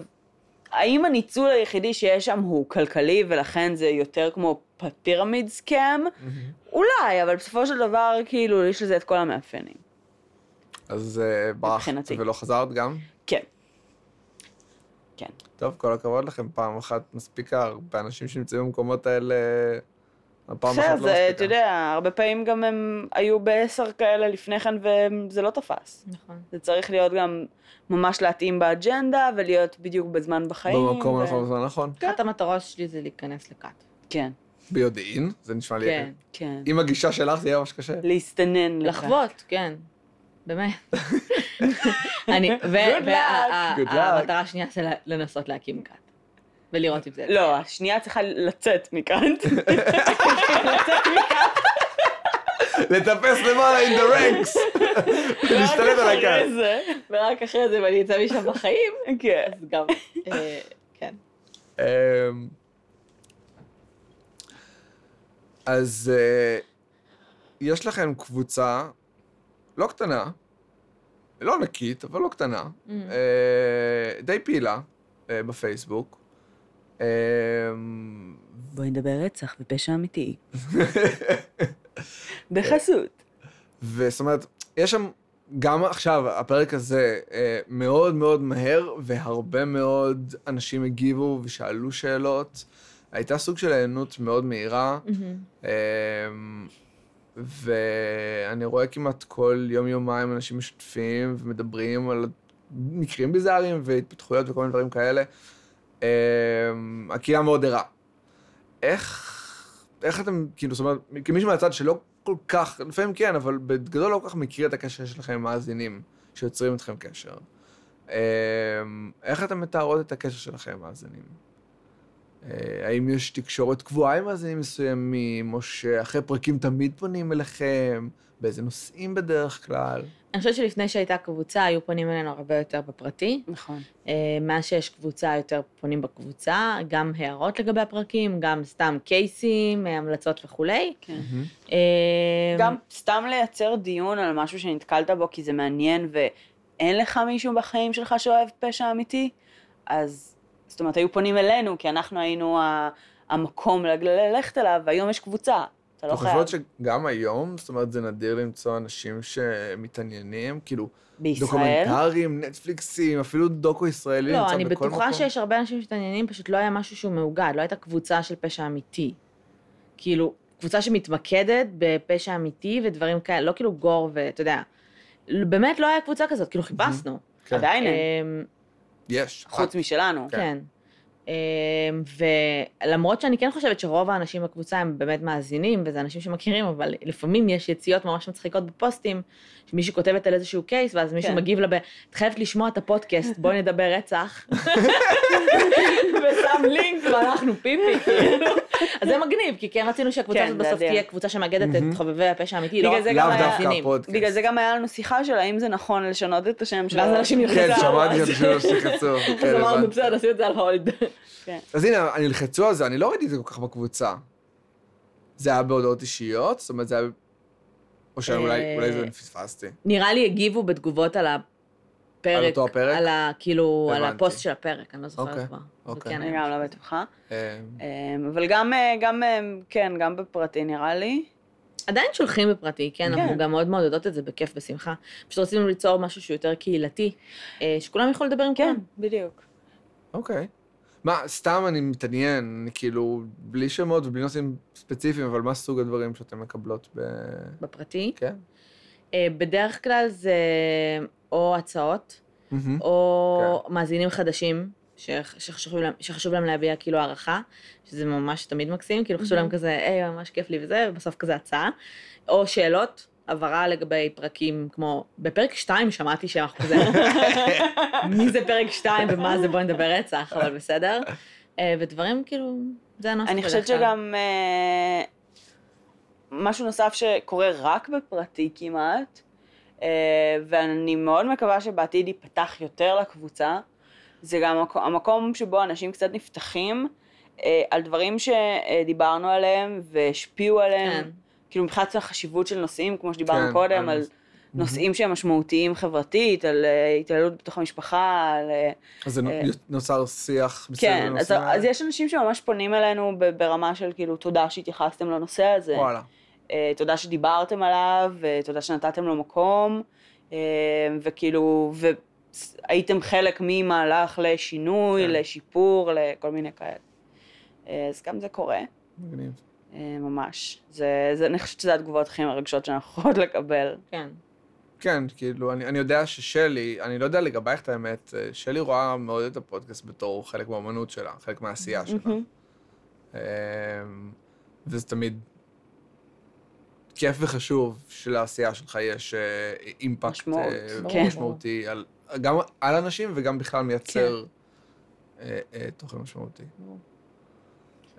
Speaker 3: האם הניצול היחידי שיש שם הוא כלכלי, ולכן זה יותר כמו פירמיד סקאם? אולי, אבל בסופו של דבר, כאילו, יש לזה את כל המאפיינים.
Speaker 1: אז אה, ברחת
Speaker 3: מבחינתי.
Speaker 1: ולא חזרת גם?
Speaker 3: כן. כן.
Speaker 1: טוב, כל הכבוד לכם, פעם אחת מספיקה, הרבה אנשים שנמצאים במקומות האלה, הפעם אחת לא
Speaker 3: בסדר, זה,
Speaker 1: מספיקה.
Speaker 3: אתה יודע, הרבה פעמים גם הם היו בעשר כאלה לפני כן, וזה לא תפס.
Speaker 2: נכון.
Speaker 3: זה צריך להיות גם ממש להתאים באג'נדה, ולהיות בדיוק בזמן בחיים.
Speaker 1: במקום
Speaker 3: ו-
Speaker 1: הנכון נכון. בזמן הנכון.
Speaker 2: אחת המטרות שלי זה להיכנס לקאט.
Speaker 3: כן,
Speaker 1: ביודעין, זה נשמע לי...
Speaker 2: כן.
Speaker 3: כן.
Speaker 1: עם הגישה שלך זה יהיה ממש קשה.
Speaker 3: להסתנן לך.
Speaker 2: לחוות, כן. [LAUGHS] באמת. אני,
Speaker 3: Good luck.
Speaker 1: Good luck.
Speaker 2: והמטרה השנייה זה ל- לנסות להקים קאט. ולראות אם זה...
Speaker 3: לא, השנייה צריכה לצאת
Speaker 1: [LAUGHS]
Speaker 3: מכאן. לצאת מכאן.
Speaker 1: לטפס למעלה in the ranks!
Speaker 3: לא,
Speaker 1: להשתלט על
Speaker 3: ורק
Speaker 1: הקהל.
Speaker 3: אחרי זה.
Speaker 2: ורק אחרי זה, ואני אצא משם בחיים,
Speaker 3: כן.
Speaker 2: אז גם... אה, כן.
Speaker 1: אמ, אז אה, יש לכם קבוצה לא קטנה, לא ענקית, אבל לא קטנה, אה, די פעילה אה, בפייסבוק. אמ,
Speaker 3: בואי נדבר רצח ופשע אמיתי. [LAUGHS] בחסות.
Speaker 1: וזאת אומרת, יש שם, גם עכשיו, הפרק הזה אה, מאוד מאוד מהר, והרבה מאוד אנשים הגיבו ושאלו שאלות. הייתה סוג של הענות מאוד מהירה, אה, ואני רואה כמעט כל יום-יומיים אנשים משתפים ומדברים על מקרים ביזאריים והתפתחויות וכל מיני דברים כאלה. אה, הקהילה מאוד ערה. איך, איך אתם, כאילו, זאת אומרת, כמישהו מהצד שלא כל כך, לפעמים כן, אבל בגדול לא כל כך מכיר את הקשר שלכם עם מאזינים שיוצרים איתכם קשר. אה, איך אתם מתארות את הקשר שלכם עם מאזינים? אה, האם יש תקשורת קבועה עם מאזינים מסוימים, או שאחרי פרקים תמיד פונים אליכם? באיזה נושאים בדרך כלל?
Speaker 2: אני חושבת שלפני שהייתה קבוצה, היו פונים אלינו הרבה יותר בפרטי.
Speaker 3: נכון.
Speaker 2: אה, מאז שיש קבוצה, יותר פונים בקבוצה, גם הערות לגבי הפרקים, גם סתם קייסים, אה, המלצות וכולי.
Speaker 3: כן.
Speaker 2: אה,
Speaker 3: גם סתם לייצר דיון על משהו שנתקלת בו כי זה מעניין ואין לך מישהו בחיים שלך שאוהב פשע אמיתי, אז זאת אומרת, היו פונים אלינו כי אנחנו היינו ה- המקום ל- ללכת אליו, והיום יש קבוצה, אתה לא
Speaker 1: אתם
Speaker 3: חייב.
Speaker 1: חושבות שגם היום, זאת אומרת, זה נדיר למצוא אנשים שמתעניינים, כאילו,
Speaker 3: בישראל,
Speaker 1: דוקומנטרים, נטפליקסים, אפילו דוקו ישראלי
Speaker 2: לא,
Speaker 1: נמצא
Speaker 2: אני
Speaker 1: בכל מקום.
Speaker 2: בטוחה שיש הרבה אנשים שמתעניינים, פשוט לא היה משהו שהוא מאוגד, לא הייתה קבוצה של פשע אמיתי. כאילו, קבוצה שמתמקדת בפשע אמיתי ודברים כאלה, לא כאילו גור ואתה יודע. באמת לא היה קבוצה כזאת, כאילו חיפשנו.
Speaker 1: כן. אה,
Speaker 3: עדיין אין,
Speaker 2: אמ,
Speaker 1: יש.
Speaker 3: חוץ משלנו.
Speaker 2: כן. אמ, ולמרות שאני כן חושבת שרוב האנשים בקבוצה הם באמת מאזינים, וזה אנשים שמכירים, אבל לפעמים יש יציאות ממש מצחיקות בפוסטים, שמישהו כותבת על איזשהו קייס, ואז מישהו
Speaker 3: כן.
Speaker 2: מגיב לה ב... את חייבת לשמוע את הפודקאסט, בואי נדבר
Speaker 3: [LAUGHS]
Speaker 2: רצח. ושם לינק, ואנחנו פיפי, כאילו. אז זה מגניב, כי כן רצינו שהקבוצה
Speaker 3: כן,
Speaker 2: הזאת
Speaker 3: זה
Speaker 2: בסוף
Speaker 3: אדיר.
Speaker 2: תהיה קבוצה שמאגדת את
Speaker 1: מהמם.
Speaker 2: חובבי הפשע האמיתי,
Speaker 3: בגלל
Speaker 2: לא
Speaker 3: זה
Speaker 2: רק
Speaker 3: גם
Speaker 1: לאו
Speaker 3: היה-
Speaker 1: דווקא
Speaker 2: מאזינים.
Speaker 1: הפודקאסט.
Speaker 3: בגלל זה גם היה לנו שיחה של האם זה נכון לשנות את השם שלו.
Speaker 2: ואז אנשים
Speaker 1: כן,
Speaker 2: זה
Speaker 1: שמעתי
Speaker 2: ממש.
Speaker 1: את אוקיי, השאלה שלחצו.
Speaker 3: [LAUGHS]
Speaker 2: אז אמרנו, בסדר, נשים את זה על הולד.
Speaker 1: אז הנה, אני לחצו על זה, אני לא ראיתי את זה כל כך בקבוצה. זה היה בהודעות אישיות? זאת אומרת, זה היה... או שאולי
Speaker 2: אה,
Speaker 1: אולי זה פספסתי.
Speaker 2: נראה לי הגיבו בתגובות על הפרק.
Speaker 1: על אותו הפרק?
Speaker 2: על ה... כאילו, על
Speaker 1: הבנתי.
Speaker 2: הפוסט של הפרק, אני לא זוכרת
Speaker 1: אוקיי,
Speaker 2: כבר. זה
Speaker 1: אוקיי.
Speaker 2: כן
Speaker 3: אני
Speaker 2: היה.
Speaker 3: גם לא בטוחה.
Speaker 1: אה,
Speaker 3: אמ, אבל גם, אה, גם, אה, כן, גם בפרטי נראה לי.
Speaker 2: עדיין שולחים בפרטי, כן, אנחנו
Speaker 3: כן.
Speaker 2: גם מאוד מעודדות את זה בכיף, בשמחה. פשוט רצינו ליצור משהו שהוא יותר קהילתי, אה, שכולם יכולים לדבר עם
Speaker 3: כן,
Speaker 2: כולם.
Speaker 3: בדיוק.
Speaker 1: אוקיי. מה, סתם אני מתעניין, אני כאילו, בלי שמות ובלי נושאים ספציפיים, אבל מה סוג הדברים שאתן מקבלות ב...
Speaker 2: בפרטי.
Speaker 1: כן?
Speaker 2: אה, בדרך כלל זה או הצעות,
Speaker 1: מהמם.
Speaker 3: אוקיי.
Speaker 2: או מאזינים חדשים, ש- שחשוב להם- שחשוב להם להביע כאילו הערכה, שזה ממש תמיד מקסים, כאילו חשוב להם
Speaker 3: מהמם.
Speaker 2: כזה, היי, ממש כיף לי וזה, ובסוף כזה הצעה. או שאלות, הבהרה לגבי פרקים, כמו, בפרק 2 שמעתי שאנחנו כזה, מי זה פרק 2 ומה זה, בואי נדבר רצח, אבל בסדר. אה, ודברים כאילו, זה הנוסח
Speaker 3: אני חושבת
Speaker 2: בדרך כלל.
Speaker 3: שגם אה, משהו נוסף שקורה רק בפרטי כמעט, אה, ואני מאוד מקווה שבעתיד ייפתח יותר לקבוצה, זה גם המקו- המקום שבו אנשים קצת נפתחים אה, על דברים שדיברנו עליהם והשפיעו עליהם,
Speaker 2: כן.
Speaker 3: כאילו מבחינת החשיבות של נושאים, כמו שדיברנו
Speaker 1: כן, על-
Speaker 3: קודם, על נושאים שהם משמעותיים חברתית, על אה, התעללות בתוך המשפחה, על... אה,
Speaker 1: אז זה נו-
Speaker 3: אה,
Speaker 1: נוצר שיח מסביב
Speaker 3: כן, אז,
Speaker 1: לנושאים
Speaker 3: אז
Speaker 1: האלה?
Speaker 3: יש אנשים שממש פונים אלינו ב- ברמה של כאילו, תודה שהתייחסתם לנושא הזה.
Speaker 1: וואלה.
Speaker 3: אה, תודה שדיברתם עליו, אה, תודה שנתתם לו מקום, אה, וכאילו, והייתם חלק ממהלך לשינוי,
Speaker 1: כן.
Speaker 3: לשיפור, לכל מיני כאלה. אה, אז גם זה קורה,
Speaker 1: מגניב.
Speaker 3: אה, ממש. זה, זה, אני חושבת שזה התגובות הכי מרגשות שאנחנו יכולות לקבל.
Speaker 2: כן.
Speaker 1: כן, כאילו, אני, אני יודע ששלי, אני לא יודע לגבייך את האמת, אה, שלי רואה מאוד את הפודקאסט בתור חלק מהאמנות שלה, חלק מהעשייה שלה.
Speaker 3: מהמם.
Speaker 1: אמ, וזה תמיד כיף וחשוב שלעשייה שלך יש אה, אימפקט
Speaker 3: משמעות,
Speaker 1: אה,
Speaker 3: כן.
Speaker 1: משמעותי, על, גם על אנשים וגם בכלל מייצר אה, אה, תוכן משמעותי.
Speaker 2: ברור.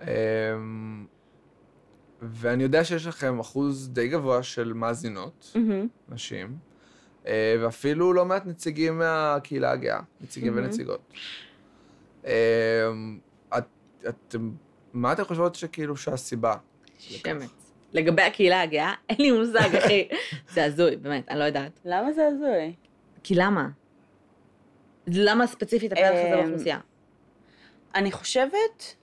Speaker 1: אמ, ואני יודע שיש לכם אחוז די גבוה של מאזינות,
Speaker 3: מהמם.
Speaker 1: נשים, אה, ואפילו לא מעט נציגים מהקהילה הגאה, נציגים
Speaker 3: מהמם.
Speaker 1: ונציגות. אה, את- אתם, מה אתם חושבות שכאילו שהסיבה?
Speaker 2: שמץ. לגבי הקהילה הגאה, אין לי מושג, אחי. זה הזוי, באמת, אני לא יודעת.
Speaker 3: למה זה הזוי?
Speaker 2: כי למה? למה ספציפית הפלח הזה
Speaker 3: אמ,
Speaker 2: באוכלוסייה?
Speaker 3: אני חושבת...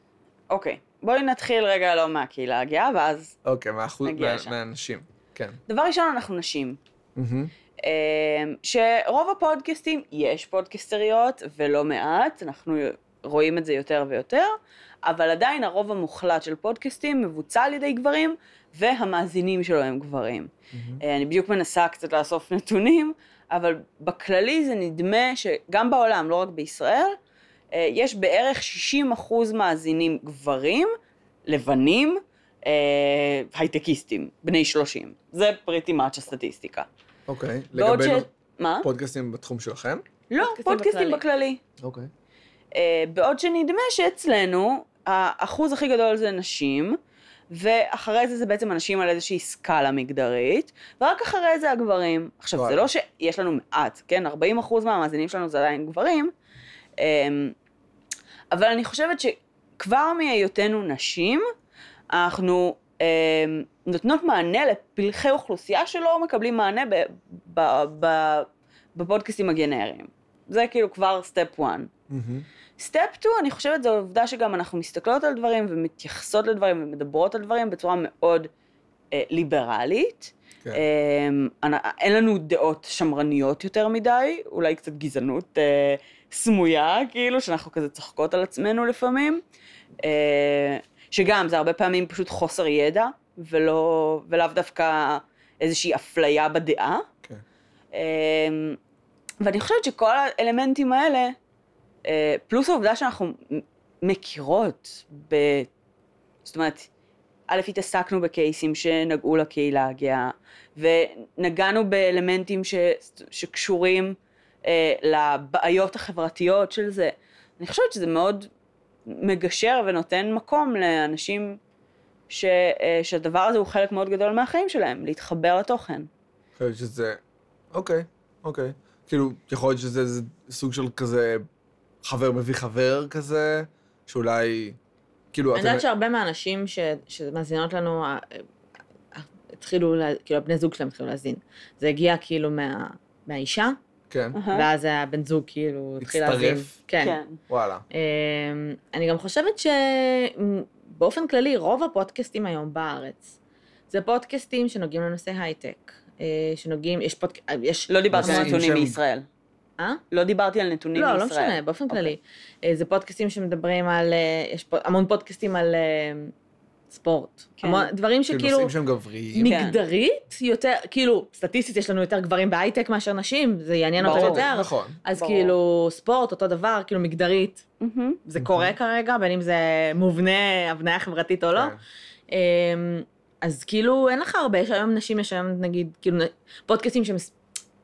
Speaker 3: אוקיי, בואי נתחיל רגע לא מהקהילה הגאה, ואז...
Speaker 1: אוקיי, מהאחוז,
Speaker 3: נגיע
Speaker 1: מה-
Speaker 3: לשם.
Speaker 1: מהנשים, כן.
Speaker 3: דבר ראשון, אנחנו נשים.
Speaker 1: מהמם.
Speaker 3: אמ, שרוב הפודקאסטים, יש פודקסטריות ולא מעט, אנחנו רואים את זה יותר ויותר, אבל עדיין הרוב המוחלט של פודקאסטים מבוצע על ידי גברים, והמאזינים שלו הם גברים.
Speaker 1: מהמם.
Speaker 3: אה, אני בדיוק מנסה קצת לאסוף [LAUGHS] נתונים, אבל בכללי זה נדמה שגם בעולם, לא רק בישראל, אה, יש בערך 60% מאזינים גברים, לבנים, אה, הייטקיסטים, בני 30. זה pretty much הסטטיסטיקה.
Speaker 1: אוקיי,
Speaker 3: בעוד
Speaker 1: לגבי
Speaker 3: ש- אה? מה?
Speaker 1: פודקאסטים בתחום שלכם?
Speaker 3: לא,
Speaker 2: פודקאסטים
Speaker 3: פודקאסטים
Speaker 2: בכללי.
Speaker 3: בכללי.
Speaker 1: אוקיי.
Speaker 3: אה, בעוד שנדמה שאצלנו, האחוז הכי גדול זה נשים, ואחרי זה זה בעצם אנשים על איזושהי סקאלה מגדרית, ורק אחרי זה הגברים. עכשיו, זה
Speaker 1: וואלה.
Speaker 3: לא שיש לנו מעט, כן? 40 אחוז מהמאזינים שלנו זה עדיין גברים, אה, אבל אני חושבת שכבר מהיותנו נשים, אנחנו אה, נותנות מענה לפלחי אוכלוסייה שלא מקבלים מענה ב- ב- ב- בפודקאסטים הגנריים. זה כאילו כבר סטפ 1.
Speaker 1: מהמם.
Speaker 3: סטפ 2, אני חושבת, זו העובדה שגם אנחנו מסתכלות על דברים ומתייחסות לדברים ומדברות על דברים בצורה מאוד אה, ליברלית.
Speaker 1: כן.
Speaker 3: אה, אנ- אין לנו דעות שמרניות יותר מדי, אולי קצת גזענות אה, סמויה, כאילו, שאנחנו כזה צוחקות על עצמנו לפעמים. אה, שגם, זה הרבה פעמים פשוט חוסר ידע, ולא, ולאו דווקא איזושהי אפליה בדעה.
Speaker 1: כן.
Speaker 3: אמ, ואני חושבת שכל האלמנטים האלה, אה, פלוס העובדה שאנחנו מ- מכירות ב... זאת אומרת, א', התעסקנו בקייסים שנגעו לקהילה הגאה, ונגענו באלמנטים ש... שקשורים אה, לבעיות החברתיות של זה. אני חושבת שזה מאוד מגשר ונותן מקום לאנשים ש... אה, שהדבר הזה הוא חלק מאוד גדול מהחיים שלהם, להתחבר לתוכן.
Speaker 1: חושבת שזה... אוקיי, אוקיי. כאילו, יכול להיות שזה איזה סוג של כזה חבר מביא חבר כזה, שאולי... כאילו,
Speaker 2: אני יודעת שהרבה מהאנשים ש- שמאזינות לנו, אה, אה, התחילו, לה- כאילו, הבני זוג שלהם התחילו להאזין. זה הגיע כאילו מה- מהאישה,
Speaker 1: כן,
Speaker 2: ואז הבן זוג כאילו התחיל
Speaker 1: הצטרף.
Speaker 2: להאזין. כן.
Speaker 3: כן.
Speaker 1: וואלה.
Speaker 2: אמ, אני גם חושבת שבאופן כללי, רוב הפודקאסטים היום בארץ, זה פודקאסטים שנוגעים לנושא הייטק, אה, שנוגעים, יש פודק... אה, יש...
Speaker 3: לא דיברתי על
Speaker 1: נושאים
Speaker 3: נתונים
Speaker 1: שהם-
Speaker 3: מישראל.
Speaker 2: אה?
Speaker 3: לא דיברתי על נתונים
Speaker 2: לא,
Speaker 3: מישראל.
Speaker 2: לא משנה, באופן
Speaker 3: אוקיי.
Speaker 2: כללי. אה, זה פודקאסטים שמדברים על... אה, יש פה המון פודקאסטים על אה, ספורט.
Speaker 3: כן.
Speaker 2: המון דברים
Speaker 1: כאילו,
Speaker 2: שכאילו...
Speaker 1: נושאים שהם גבריים.
Speaker 3: כן.
Speaker 2: מגדרית יותר, כאילו, סטטיסטית יש לנו יותר גברים בהייטק מאשר נשים, זה יעניין אותה
Speaker 3: ברור.
Speaker 2: יותר.
Speaker 1: נכון.
Speaker 2: אז
Speaker 3: ברור.
Speaker 2: כאילו, ספורט, אותו דבר, כאילו מגדרית,
Speaker 3: מהמם.
Speaker 2: זה
Speaker 1: Mhm.
Speaker 2: קורה כרגע, בין אם זה מובנה, הבניה חברתית או לא.
Speaker 1: כן.
Speaker 2: אמ, אז כאילו, אין לך הרבה, יש היום נשים, יש היום נגיד, כאילו, נ- פודקאסטים שהם ס-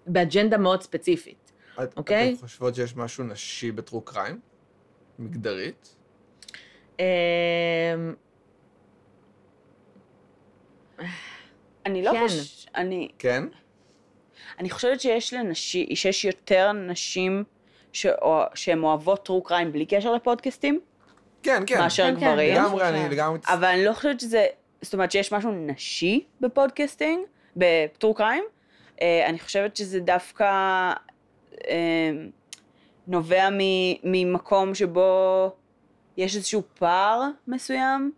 Speaker 2: באג'נדה מאוד ספציפית.
Speaker 1: את-
Speaker 2: אוקיי?
Speaker 1: אתם חושבות שיש משהו נשי בטרו קריים? מגדרית?
Speaker 2: אמ,
Speaker 3: אני לא
Speaker 2: כן.
Speaker 3: חושבת... אני,
Speaker 1: כן?
Speaker 3: אני חושבת שיש לנשים, שיש יותר נשים שאו- שהן אוהבות true crime בלי קשר לפודקאסטים.
Speaker 1: כן, כן.
Speaker 3: מאשר
Speaker 2: כן, כן,
Speaker 3: גברים.
Speaker 1: לגמרי, אני לגמרי...
Speaker 3: אבל אני לא חושבת שזה, זאת אומרת שיש משהו נשי בפודקאסטינג, בטרו קריים. אה, אני חושבת שזה דווקא אה, נובע מ, ממקום שבו יש איזשהו פער מסוים.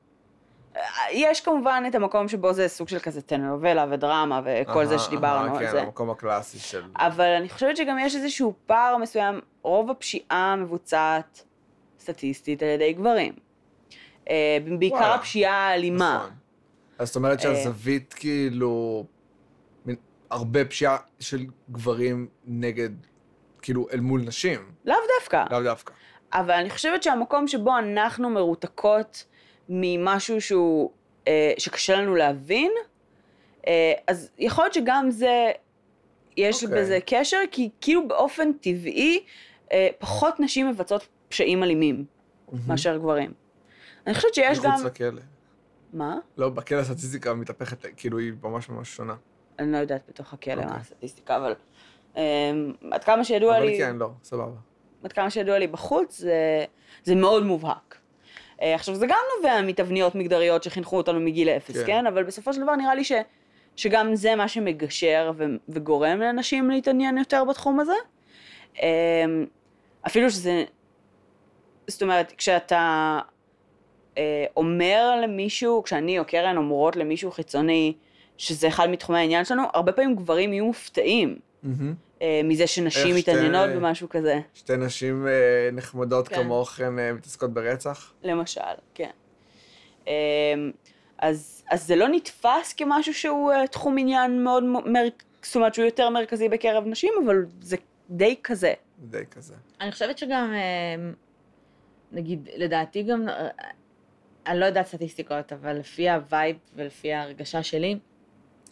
Speaker 3: אה, יש כמובן את המקום שבו זה סוג של כזה טנובלה ודרמה וכל
Speaker 1: אהה,
Speaker 3: זה שדיברנו
Speaker 1: אהה,
Speaker 3: על
Speaker 1: כן,
Speaker 3: זה.
Speaker 1: המקום הקלאסי של...
Speaker 3: אבל אני חושבת שגם יש איזשהו פער מסוים, רוב הפשיעה מבוצעת סטטיסטית על ידי גברים. אה, בעיקר
Speaker 1: וואלה.
Speaker 3: הפשיעה האלימה.
Speaker 1: נכון. אז זאת
Speaker 3: אה.
Speaker 1: אומרת שהזווית כאילו, מין- הרבה פשיעה של גברים נגד, כאילו, אל מול נשים,
Speaker 3: לאו דווקא,
Speaker 1: לאו דווקא.
Speaker 3: אבל אני חושבת שהמקום שבו אנחנו מרותקות ממשהו שהוא, אה, שקשה לנו להבין, אה, אז יכול להיות שגם זה, יש
Speaker 1: אוקיי.
Speaker 3: בזה קשר, כי כאילו באופן טבעי, אה, פחות נשים מבצעות פשעים אלימים מאשר גברים. אני חושבת שיש גם...
Speaker 1: מחוץ לכלא.
Speaker 3: מה?
Speaker 1: לא, בכלא הסטטיסטיקה מתהפכת, כאילו, היא ממש ממש שונה.
Speaker 3: אני לא יודעת בתוך הכלא מה
Speaker 1: אוקיי.
Speaker 3: הסטטיסטיקה, אבל אמ, עד כמה שידוע
Speaker 1: אבל
Speaker 3: לי,
Speaker 1: כן, לא, סבבה.
Speaker 3: עד כמה שידוע לי בחוץ, זה- זה מאוד מובהק. אה, עכשיו, זה גם נובע מתבניות מגדריות שחינכו אותנו מגיל אפס,
Speaker 1: כן.
Speaker 3: כן? אבל בסופו של דבר נראה לי ש- שגם זה מה שמגשר ו- וגורם לאנשים להתעניין יותר בתחום הזה. אמ, אפילו שזה, זאת אומרת, כשאתה אה, אומר למישהו, כשאני או קרן אומרות למישהו חיצוני, שזה אחד מתחומי העניין שלנו, הרבה פעמים גברים יהיו מופתעים
Speaker 1: מהמם.
Speaker 3: אה, מזה שנשים
Speaker 1: איך שתי-
Speaker 3: מתעניינות במשהו כזה,
Speaker 1: שתי נשים אה, נחמדות
Speaker 2: כן.
Speaker 1: כמוכן אה, מתעסקות ברצח.
Speaker 3: למשל, כן. אה, אז, אז זה לא נתפס כמשהו שהוא אה, תחום עניין מאוד, מ- מר, זאת אומרת שהוא יותר מרכזי בקרב נשים, אבל זה די כזה.
Speaker 1: די כזה.
Speaker 2: אני חושבת שגם, אה, נגיד, לדעתי גם, אה, אני לא יודעת סטטיסטיקות, אבל לפי הווייב ולפי ההרגשה שלי,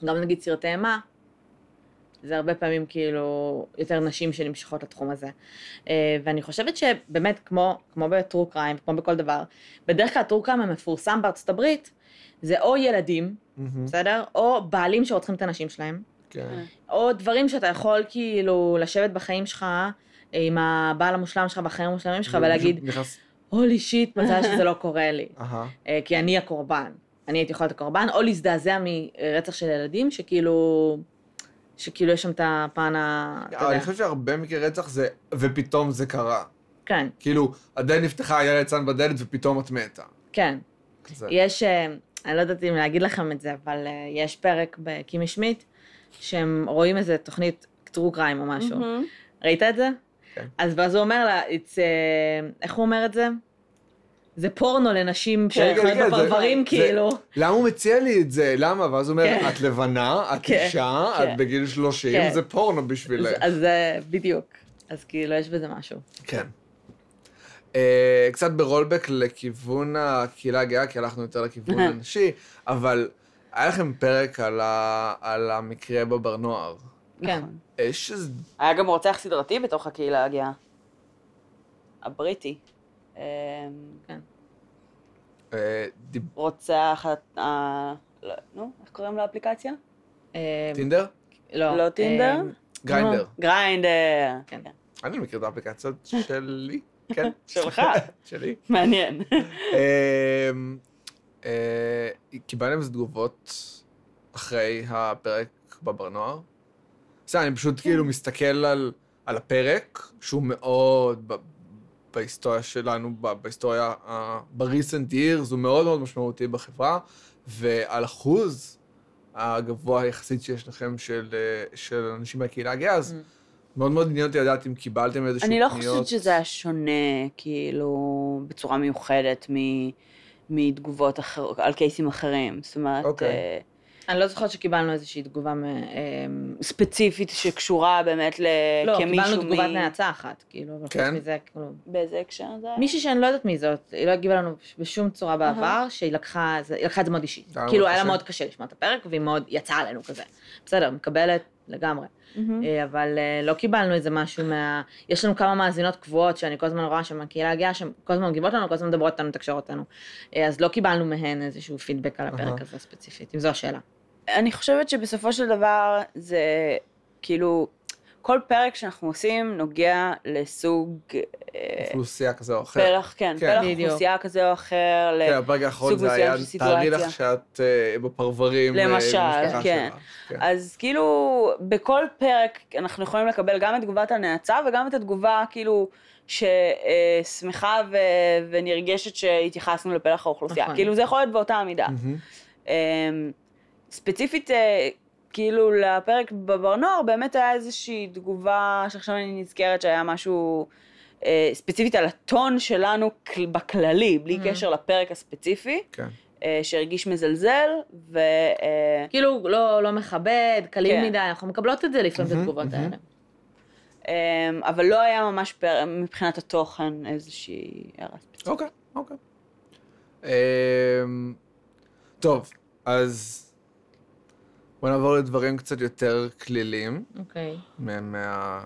Speaker 2: גם נגיד סרטי אימה, זה הרבה פעמים כאילו יותר נשים שנמשכות לתחום הזה. אה, ואני חושבת שבאמת, כמו, כמו בטרו קריים, כמו בכל דבר, בדרך כלל הטרו קריים המפורסם בארצות הברית, זה או ילדים,
Speaker 1: מהמם.
Speaker 2: בסדר? או בעלים שרוצחים את הנשים שלהם. אה,
Speaker 1: כן.
Speaker 2: או דברים שאתה יכול כאילו לשבת בחיים שלך עם הבעל המושלם שלך בחיים המושלמים שלך ולהגיד,
Speaker 1: מישהו נכנס...
Speaker 2: הולי שיט, מזל שזה לא קורה לי,
Speaker 1: אהה.
Speaker 2: אה, כי אני הקורבן. אני הייתי יכולה להיות הקורבן, או להזדעזע מרצח של ילדים, שכאילו, שכאילו יש שם את הפן ה... אתה
Speaker 1: אבל אה, אני
Speaker 2: יודע.
Speaker 1: חושב שהרבה מקרי רצח זה, ופתאום זה קרה.
Speaker 2: כן,
Speaker 1: כאילו, הדלת נפתחה, היה ליצן בדלת, ופתאום את מתה.
Speaker 2: כן.
Speaker 1: כזה.
Speaker 2: יש, אה, אני לא יודעת אם להגיד לכם את זה, אבל אה, יש פרק בקימי שמיט, שהם רואים איזה תוכנית טרו קריים או משהו.
Speaker 3: מהמם.
Speaker 2: ראית את זה?
Speaker 1: כן.
Speaker 2: אז ואז הוא אומר לה, it's, uh, איך הוא אומר את זה? זה פורנו לנשים שחיות
Speaker 1: כן, זה-
Speaker 2: בפרברים,
Speaker 1: זה-
Speaker 2: כאילו.
Speaker 1: למה הוא מציע לי את זה? למה? ואז הוא
Speaker 2: כן.
Speaker 1: אומר, את לבנה, את
Speaker 2: כן,
Speaker 1: אישה,
Speaker 2: כן.
Speaker 1: את בגיל 30,
Speaker 2: כן.
Speaker 1: זה פורנו
Speaker 2: אז,
Speaker 1: בשבילך.
Speaker 2: אז אה, בדיוק. אז כאילו, יש בזה משהו.
Speaker 1: כן. אה, קצת ברולבק לכיוון הקהילה הגאה, כי הלכנו יותר לכיוון הנשי, אבל היה לכם פרק על ה- על המקרה בבר נוער.
Speaker 2: כן.
Speaker 3: נכון.
Speaker 1: אה, שזה...
Speaker 3: היה גם רוצח סדרתי בתוך הקהילה הגאה. הבריטי. אמ,
Speaker 2: כן.
Speaker 1: אה, דיב-
Speaker 3: רוצח, ה- ה- לא, נו, איך קוראים לאפליקציה?
Speaker 2: אה,
Speaker 1: טינדר?
Speaker 2: לא.
Speaker 3: לא טינדר?
Speaker 2: אה,
Speaker 1: גריינדר.
Speaker 3: גריינדר.
Speaker 2: כן.
Speaker 1: אני מכיר את האפליקציות שלי, כן.
Speaker 3: שלך.
Speaker 1: [LAUGHS] שלי.
Speaker 3: מעניין.
Speaker 1: אמ, אה, קיבלנו איזה תגובות אחרי הפרק בבר נוער. בסדר, אני
Speaker 3: כן.
Speaker 1: פשוט כאילו מסתכל על, על הפרק, שהוא מאוד, ב, בהיסטוריה שלנו, ב, בהיסטוריה, אה, ב-recent years, הוא מאוד מאוד משמעותי בחברה, ועל אחוז הגבוה יחסית שיש לכם של, אה, של אנשים מהקהילה הגאה, אז
Speaker 2: Mm.
Speaker 1: מאוד מאוד עניין אותי לדעת אם קיבלתם איזשהו
Speaker 3: אני לא
Speaker 1: פניות.
Speaker 3: חושבת שזה היה שונה, כאילו, בצורה מיוחדת מ- מתגובות אחרות, על קייסים אחרים. זאת אומרת,
Speaker 1: אוקיי.
Speaker 3: אה,
Speaker 2: אני לא זוכרת שקיבלנו איזושהי תגובה מ... אה,
Speaker 3: ספציפית שקשורה באמת ל...
Speaker 2: לא,
Speaker 3: אה, כמישהו
Speaker 2: קיבלנו
Speaker 3: מ-
Speaker 2: תגובת נאצה אחת, כאילו, אבל חוץ
Speaker 1: כן?
Speaker 2: מזה, כאילו...
Speaker 3: באיזה הקשר זה היה?
Speaker 2: מישהי שאני לא יודעת מי זאת, היא לא הגיבה לנו בשום צורה בעבר, שהיא לקחה, זה- היא לקחה את זה מאוד אישית.
Speaker 1: זה היה אה, מאוד
Speaker 2: כאילו, היה לה
Speaker 1: קשה.
Speaker 2: מאוד קשה לשמוע את הפרק, והיא מאוד יצאה עלינו כזה. בסדר, מקבלת לגמרי.
Speaker 3: מהמם.
Speaker 2: אה, אבל אה, לא קיבלנו איזה משהו מה... יש לנו כמה מאזינות קבועות שאני כל הזמן רואה שם מהקהילה הגאה, שהן כל הזמן מגיבות לנו, כל הזמן מדברות איתנו, מתקשרות איתנו. אה, אז לא קיבלנו מהן איזשהו פידבק על הפרק
Speaker 1: אהה.
Speaker 2: הזה ספציפית, אם זו השאלה.
Speaker 3: אני חושבת שבסופו של דבר זה כאילו, כל פרק שאנחנו עושים נוגע לסוג אה,
Speaker 1: אוכלוסייה כזו או אחרת.
Speaker 3: פלח, כן,
Speaker 1: כן.
Speaker 3: פלח
Speaker 2: בדיוק.
Speaker 3: אוכלוסייה כזה או אחר, ל-
Speaker 1: כן, הפרק האחרון
Speaker 3: אה,
Speaker 1: זה
Speaker 3: סוג מסוים
Speaker 1: היה,
Speaker 3: של
Speaker 1: תארי לך
Speaker 3: סיטואציה.
Speaker 1: שאת אה, בפרברים. אה,
Speaker 3: למשל,
Speaker 1: במשפחה
Speaker 3: כן.
Speaker 1: שלך. כן.
Speaker 3: אז כאילו, בכל פרק אנחנו יכולים לקבל גם את תגובת הנאצה וגם את התגובה כאילו ששמחה ו... ונרגשת שהתייחסנו לפלח האוכלוסייה.
Speaker 2: נכון. Mm.
Speaker 3: נכון. כאילו זה יכול להיות באותה המידה.
Speaker 1: מהמם.
Speaker 3: אמ, ספציפית, אה, כאילו לפרק בבר נוער באמת היה איזושהי תגובה שעכשיו אני נזכרת שהיה משהו אה, ספציפית על הטון שלנו כל- בכללי, בלי
Speaker 2: Mm.
Speaker 3: קשר לפרק הספציפי,
Speaker 1: כן.
Speaker 3: אה, שהרגיש מזלזל, ו... אה,
Speaker 2: כאילו, לא, לא מכבד, קלים
Speaker 3: כן.
Speaker 2: מדי, אנחנו מקבלות את זה לפעמים, את
Speaker 1: מהמם,
Speaker 2: התגובות
Speaker 1: מהמם.
Speaker 2: האלה.
Speaker 3: אמ, אבל לא היה ממש פר... מבחינת התוכן איזושהי הערה ספציפית.
Speaker 1: אוקיי, אוקיי. אמ, טוב, אז בוא נעבור לדברים קצת יותר כלילים,
Speaker 2: אוקיי.
Speaker 1: מה- מה...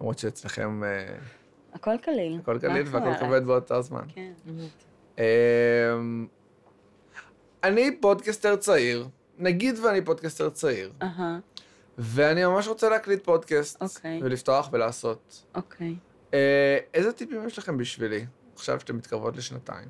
Speaker 1: למרות שאצלכם אה,
Speaker 3: הכל קליל.
Speaker 1: הכל
Speaker 3: מה
Speaker 1: קליל
Speaker 3: זאת
Speaker 1: והכל
Speaker 3: אומרת?
Speaker 1: כבד באותו זמן.
Speaker 3: כן.
Speaker 2: באמת.
Speaker 1: אמ, אני פודקסטר צעיר, נגיד ואני פודקסטר צעיר,
Speaker 3: אהה,
Speaker 1: ואני ממש רוצה להקליט פודקאסט,
Speaker 3: אוקיי.
Speaker 1: ולפתוח ולעשות.
Speaker 3: אוקיי.
Speaker 1: אה, איזה טיפים יש לכם בשבילי, עכשיו שאתם מתקרבות לשנתיים?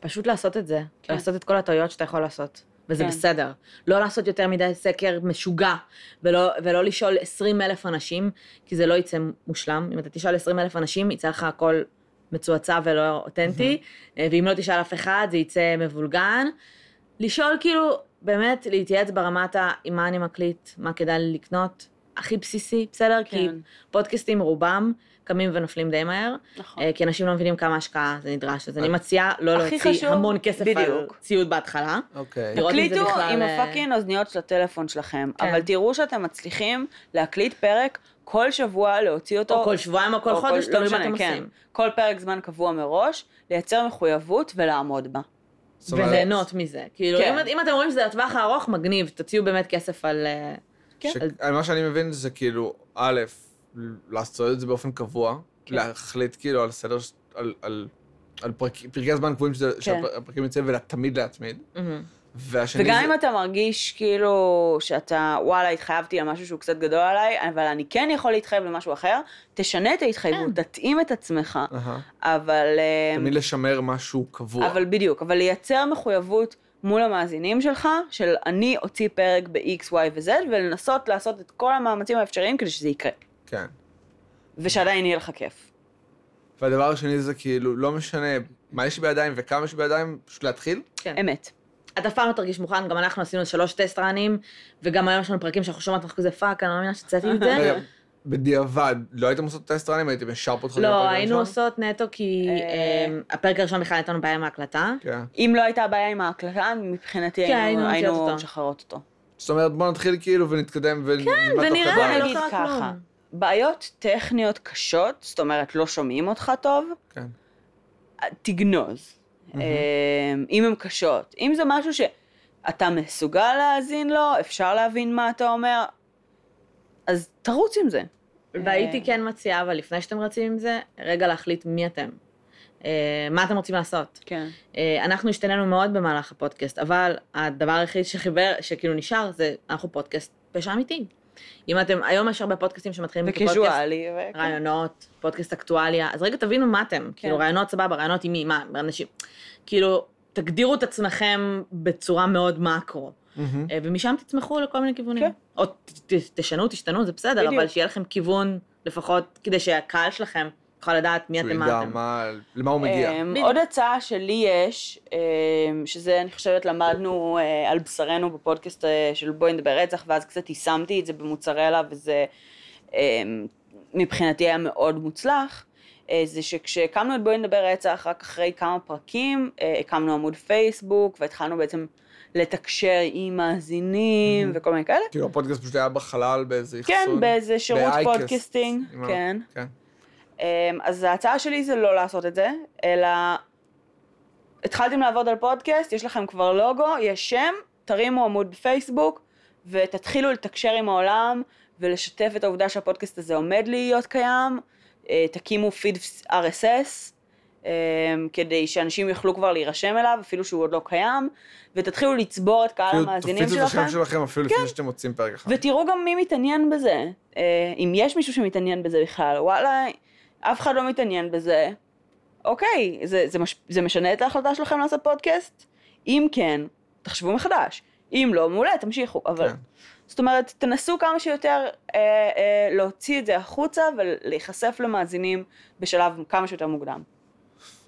Speaker 2: פשוט לעשות את זה.
Speaker 3: כן.
Speaker 2: לעשות את כל הטעויות שאתה יכול לעשות. וזה
Speaker 3: כן.
Speaker 2: בסדר. לא לעשות יותר מדי סקר משוגע, ולא, ולא לשאול 20 אלף אנשים, כי זה לא יצא מושלם. אם אתה תשאל 20 אלף אנשים, יצא לך הכל מצועצע ולא אותנטי, אה, ואם לא תשאל אף אחד, זה יצא מבולגן. לשאול כאילו, באמת, להתייעץ ברמת ה... עם מה אני מקליט, מה כדאי לי לקנות, הכי בסיסי, בסדר? כי
Speaker 3: כן,
Speaker 2: פודקאסטים רובם קמים ונופלים די מהר.
Speaker 3: נכון.
Speaker 2: אה, כי אנשים לא מבינים כמה השקעה זה נדרש, אז אני
Speaker 1: אה.
Speaker 2: מציעה לא
Speaker 3: הכי
Speaker 2: להוציא
Speaker 3: חשוב,
Speaker 2: המון כסף על
Speaker 3: בדיוק.
Speaker 2: ציוד בהתחלה.
Speaker 1: אוקיי.
Speaker 2: לראות אם זה
Speaker 3: תקליטו
Speaker 2: בכלל,
Speaker 3: עם
Speaker 2: אה,
Speaker 3: הפאקינג אוזניות של הטלפון שלכם,
Speaker 2: כן.
Speaker 3: אבל תראו שאתם מצליחים להקליט פרק כל שבוע, להוציא אותו.
Speaker 2: או כל שבועיים או כל
Speaker 3: או
Speaker 2: חודש,
Speaker 3: כל-
Speaker 2: תלוי
Speaker 3: לא
Speaker 2: מה
Speaker 3: משנה,
Speaker 2: אתם
Speaker 3: כן.
Speaker 2: עושים.
Speaker 3: כל פרק זמן קבוע מראש, לייצר מחויבות ולעמוד בה.
Speaker 1: זאת אומרת-
Speaker 2: וליהנות מזה. כאילו,
Speaker 3: כן.
Speaker 2: אם- אם אתם רואים שזה לטווח הארוך, מגניב, תוציאו באמת כסף על... אה,
Speaker 3: כן.
Speaker 1: ש... מה שאני מבין זה כאילו, א', לעשות את זה באופן קבוע,
Speaker 3: כן.
Speaker 1: להחליט כאילו על סדר, ש- על, על, על פרק, פרקי הזמן קבועים שזה- שהפרקים יוצאים ותמיד להתמיד,
Speaker 2: מהמם.
Speaker 1: והשני
Speaker 3: וגם
Speaker 1: זה...
Speaker 3: אם אתה מרגיש כאילו שאתה, וואלה, התחייבתי למשהו שהוא קצת גדול עליי, אבל אני כן יכול להתחייב למשהו אחר, תשנה את ההתחייבות,
Speaker 2: כן.
Speaker 3: תתאים את עצמך,
Speaker 1: אהה.
Speaker 3: אבל... אה,
Speaker 1: תמיד לשמר משהו קבוע.
Speaker 3: אבל בדיוק, אבל לייצר מחויבות מול המאזינים שלך, של אני אוציא פרק ב-X, Y ו-Z, ולנסות לעשות את כל המאמצים האפשריים כדי שזה יקרה,
Speaker 1: כן.
Speaker 3: ושעדיין יהיה לך כיף.
Speaker 1: והדבר השני זה כאילו, לא משנה מה יש בידיים וכמה יש בידיים, פשוט להתחיל.
Speaker 3: אמת.
Speaker 2: אתה אף פעם לא תרגיש מוכן, גם אנחנו עשינו שלוש טסט ראנים, וגם היום יש לנו פרקים שאנחנו שומעות אנחנו כזה פאק, אני לא מאמינה שצאתי
Speaker 3: [LAUGHS]
Speaker 2: את
Speaker 1: רגע,
Speaker 2: זה.
Speaker 1: בדיעבד, לא הייתם עושות טסט ראנים, הייתם ישר פותחים
Speaker 2: לא,
Speaker 1: בפרק
Speaker 2: היינו
Speaker 1: הראשון?
Speaker 2: עושות נטו כי
Speaker 3: אה,
Speaker 2: אה, הפרק הראשון בכלל הייתה לנו בעיה עם ההקלטה.
Speaker 1: כן.
Speaker 3: אם לא הייתה בעיה עם ההקלטה, מבחינתי
Speaker 2: כן,
Speaker 3: היינו-
Speaker 2: היינו מוציאות
Speaker 3: היינו
Speaker 2: אותו.
Speaker 3: משחררות אותו.
Speaker 1: זאת אומרת, בוא נתחיל כאילו ונתקדם ונלמד תוך
Speaker 2: ונראה,
Speaker 1: כדי.
Speaker 3: בוא
Speaker 2: לא
Speaker 3: כן, נגיד
Speaker 2: קרה
Speaker 3: ככה.
Speaker 2: כלום.
Speaker 3: בעיות טכניות קשות, זאת אומרת, לא שומעים אותך טוב,
Speaker 1: כן.
Speaker 3: תגנוז.
Speaker 1: מהמם.
Speaker 3: אמ, אם הן קשות. אם זה משהו שאתה מסוגל להאזין לו, אפשר להבין מה אתה אומר, אז תרוץ עם זה.
Speaker 2: והייתי
Speaker 3: אה.
Speaker 2: כן מציעה, אבל לפני שאתם רצים עם זה, רגע להחליט מי אתם. אה, מה אתם רוצים לעשות?
Speaker 3: כן.
Speaker 2: אה, אנחנו השתננו מאוד במהלך הפודקאסט, אבל הדבר היחיד שחיבר, שכאילו נשאר, זה אנחנו פודקאסט פשע אמיתי. אם אתם, היום יש הרבה פודקאסטים שמתחילים כפודקאסט
Speaker 3: וקיזואלי. ו-
Speaker 2: רעיונות, פודקאסט אקטואליה, אז רגע תבינו מה אתם. כאילו רעיונות סבבה, רעיונות עם מי, מה, אנשים. כאילו, תגדירו את עצמכם בצורה מאוד מקרו.
Speaker 1: מהמם.
Speaker 2: אה, ומשם תצמחו לכל מיני כיוונים.
Speaker 3: כן.
Speaker 2: או ת- ת- תשנו, תשתנו, זה בסדר,
Speaker 3: בדיוק.
Speaker 2: אבל שיהיה לכם כיוון, לפחות כדי שהקהל שלכם יוכל לדעת מי
Speaker 1: שהוא
Speaker 2: אתם,
Speaker 1: ידע
Speaker 2: מה אתם.
Speaker 1: מה- למה הוא מגיע.
Speaker 3: אמ,
Speaker 2: בדיוק.
Speaker 3: עוד הצעה שלי יש, אמ, שזה אני חושבת למדנו אה, על בשרנו בפודקאסט אה, של בואי נדבר רצח, ואז קצת יישמתי את זה במוצרלה, וזה אמ, מבחינתי היה מאוד מוצלח, אה, זה שכשהקמנו את בואי נדבר רצח, רק אחרי כמה פרקים, אה, הקמנו עמוד פייסבוק, והתחלנו בעצם לתקשר עם מאזינים
Speaker 1: Mhm.
Speaker 3: וכל מיני כאלה.
Speaker 1: כאילו הפודקאסט פשוט היה בחלל באיזה אחסון.
Speaker 3: כן, באיזה שירות
Speaker 1: ב-iCast,
Speaker 3: פודקאסטינג,
Speaker 1: עם ה-
Speaker 3: כן.
Speaker 1: כן.
Speaker 3: אמ, אז ההצעה שלי זה לא לעשות את זה, אלא התחלתם לעבוד על פודקאסט, יש לכם כבר לוגו, יש שם, תרימו עמוד בפייסבוק ותתחילו לתקשר עם העולם ולשתף את העובדה שהפודקאסט הזה עומד להיות קיים, אה, תקימו פיד RSS, אמ, כדי שאנשים יוכלו כבר להירשם אליו, אפילו שהוא עוד לא קיים, ותתחילו לצבור את קהל
Speaker 1: כאילו,
Speaker 3: המאזינים
Speaker 1: תפיצו את
Speaker 3: שלכם, כן.
Speaker 1: השם שלכם אפילו לפני שאתם מוצאים פרק אחד.
Speaker 3: ותראו גם מי מתעניין בזה. אה, אם יש מישהו שמתעניין בזה בכלל, וואלה, אף אחד לא מתעניין בזה. אוקיי, זה, זה, מש, זה משנה את ההחלטה שלכם לעשות פודקאסט? אם כן, תחשבו מחדש. אם לא, מעולה, תמשיכו. אבל
Speaker 1: כן.
Speaker 3: זאת אומרת, תנסו כמה שיותר אה, אה, להוציא את זה החוצה ולהיחשף למאזינים בשלב כמה שיותר מוקדם.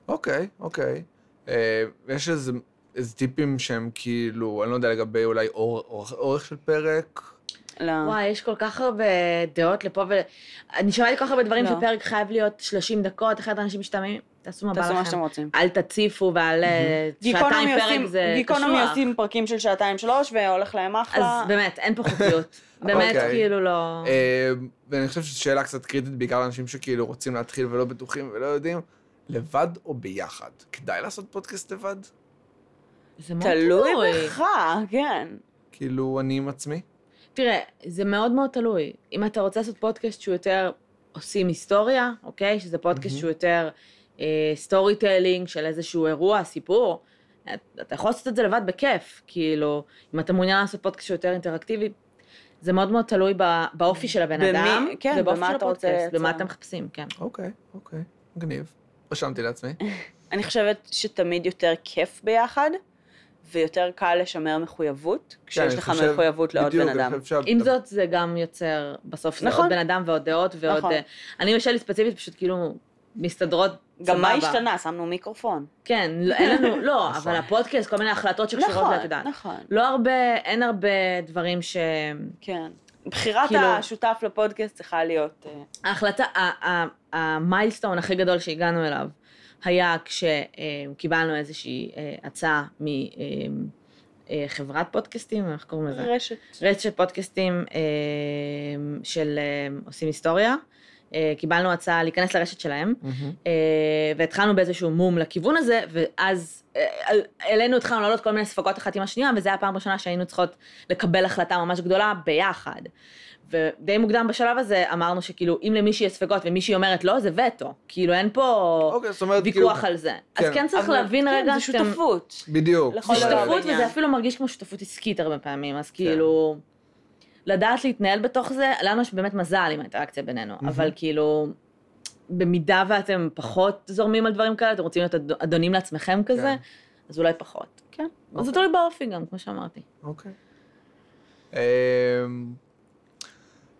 Speaker 1: אוקיי, אוקיי. אה, יש איזה, איזה טיפים שהם כאילו, אני לא יודע לגבי אולי אור, אורך, אורך של פרק.
Speaker 3: ל-
Speaker 2: וואי, יש כל כך הרבה דעות לפה ול... אני שמעתי כל כך הרבה דברים
Speaker 3: לא.
Speaker 2: שפרק חייב להיות 30 דקות, אחרת אנשים משתעממים, תעשו מה בא
Speaker 3: תעשו מה
Speaker 2: לכם.
Speaker 3: שאתם רוצים.
Speaker 2: אל תציפו ועל אה, שעתיים
Speaker 3: גיקונומי
Speaker 2: פרק
Speaker 3: עושים-
Speaker 2: זה
Speaker 3: גיקונומי
Speaker 2: קשוח.
Speaker 3: עושים פרקים של שעתיים שלוש והולך להם
Speaker 2: אז
Speaker 3: אחלה.
Speaker 2: באמת, אין פה חוקיות. באמת,
Speaker 1: אוקיי.
Speaker 2: כאילו לא...
Speaker 1: אה, ואני חושב שזו שאלה קצת קריטית, בעיקר לאנשים שכאילו רוצים להתחיל ולא בטוחים ולא יודעים, לבד או ביחד? כדאי לעשות פודקאסט לבד?
Speaker 2: זה מאוד
Speaker 3: תלוי בך, לא כן.
Speaker 1: כאילו, אני עם עצמי?
Speaker 2: תראה, זה מאוד מאוד תלוי. אם אתה רוצה לעשות פודקאסט שהוא יותר עושים היסטוריה, אוקיי? שזה פודקאסט
Speaker 1: מהמם.
Speaker 2: שהוא יותר סטורי טיילינג של איזשהו אירוע, סיפור, אתה יכול לעשות את זה לבד בכיף. כאילו, אם אתה מעוניין לעשות פודקאסט שהוא יותר אינטראקטיבי, זה מאוד מאוד תלוי ב- באופי של הבן
Speaker 3: במי-
Speaker 2: אדם.
Speaker 3: כן,
Speaker 2: ובאופי
Speaker 3: במה
Speaker 2: של
Speaker 3: אתה רוצה
Speaker 2: הפודקאסט, במה
Speaker 3: לייצר.
Speaker 2: אתם מחפשים, כן.
Speaker 1: אוקיי, אוקיי, מגניב. רשמתי לעצמי. כן,
Speaker 3: אני חושבת שתמיד יותר כיף ביחד, ויותר קל לשמר מחויבות, כשיש
Speaker 1: כן, אני
Speaker 3: לך
Speaker 1: חושב-
Speaker 3: מחויבות לעוד
Speaker 1: בדיוק,
Speaker 3: בן
Speaker 1: אני
Speaker 3: אדם.
Speaker 1: חושב שה-
Speaker 2: עם זאת, זה גם יוצר בסוף זה
Speaker 3: נכון.
Speaker 2: עוד בן אדם ועוד דעות ועוד...
Speaker 3: נכון.
Speaker 2: אה, אני ושלי ספציפית פשוט כאילו מסתדרות סבבה.
Speaker 3: גם מה השתנה? שמנו מיקרופון.
Speaker 2: כן, לא, אין לנו,
Speaker 3: [LAUGHS]
Speaker 2: לא,
Speaker 1: נכון.
Speaker 2: אבל הפודקאסט, כל מיני החלטות שקשורות,
Speaker 3: נכון,
Speaker 2: ואת יודעת.
Speaker 3: נכון,
Speaker 2: לא הרבה, אין הרבה דברים ש...
Speaker 3: כן. בחירת
Speaker 2: כאילו-
Speaker 3: השותף לפודקאסט צריכה להיות... אה,
Speaker 2: ההחלטה, ה- ה- המיילסטון הכי גדול שהגענו אליו היה כשקיבלנו איזושהי אה, הצעה מחברת פודקאסטים, איך קוראים לזה?
Speaker 3: רשת.
Speaker 2: רשת פודקאסטים אה, של אה, עושים היסטוריה. אה, קיבלנו הצעה להיכנס לרשת שלהם,
Speaker 1: מהמם.
Speaker 2: אה, והתחלנו באיזשהו מום לכיוון הזה, ואז אה, על- אלינו התחלנו לעלות כל מיני ספקות אחת עם השנייה, וזו הייתה הפעם הראשונה שהיינו צריכות לקבל החלטה ממש גדולה ביחד. ודי מוקדם בשלב הזה אמרנו שכאילו, אם למישהי יש ספקות ומישהי אומרת לא, זה וטו. כאילו, אין פה
Speaker 1: אוקיי, זאת אומרת, כאילו...
Speaker 2: ויכוח על זה.
Speaker 1: כן.
Speaker 2: אז כן צריך
Speaker 3: אבל-
Speaker 2: להבין
Speaker 3: כן,
Speaker 2: רגע
Speaker 3: זה
Speaker 2: שאתם...
Speaker 3: שותפות.
Speaker 1: בדיוק.
Speaker 3: לכל
Speaker 2: זה
Speaker 3: דבר.
Speaker 1: אה,
Speaker 2: שותפות,
Speaker 3: בעניין.
Speaker 2: וזה אפילו מרגיש כמו שותפות עסקית הרבה פעמים, אז כאילו... לדעת להתנהל בתוך זה, לנו יש באמת מזל עם האינטראקציה בינינו,
Speaker 1: מהמם.
Speaker 2: אבל כאילו, במידה ואתם פחות זורמים על דברים כאלה, אתם רוצים להיות אד- אדונים לעצמכם כזה, אז אולי פחות. כן. אז זה תלוי באופי גם, כמו שאמרתי.
Speaker 1: אוקיי. אמ,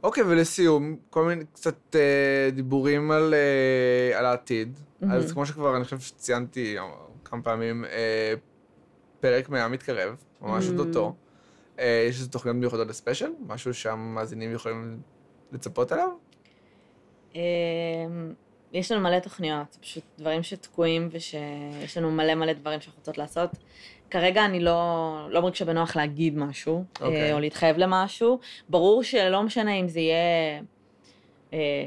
Speaker 1: אוקיי, ולסיום, כל מיני קצת אה, דיבורים על, אה, על העתיד.
Speaker 2: מהמם.
Speaker 1: אז כמו שכבר אני חושב שציינתי אה, כמה פעמים, אה, פרק מאה מתקרב, ממש
Speaker 2: מהמם.
Speaker 1: אוטוטו. אה, יש איזה תוכניות מיוחדות לספיישל, משהו שהמאזינים יכולים לצפות עליו?
Speaker 2: אמ, יש לנו מלא תוכניות, פשוט דברים שתקועים ושיש לנו מלא מלא דברים שאנחנו רוצות לעשות. כרגע אני לא, לא מרגישה בנוח להגיד משהו,
Speaker 1: אוקיי.
Speaker 2: okay. או להתחייב למשהו. ברור שלא משנה אם זה יהיה... אה,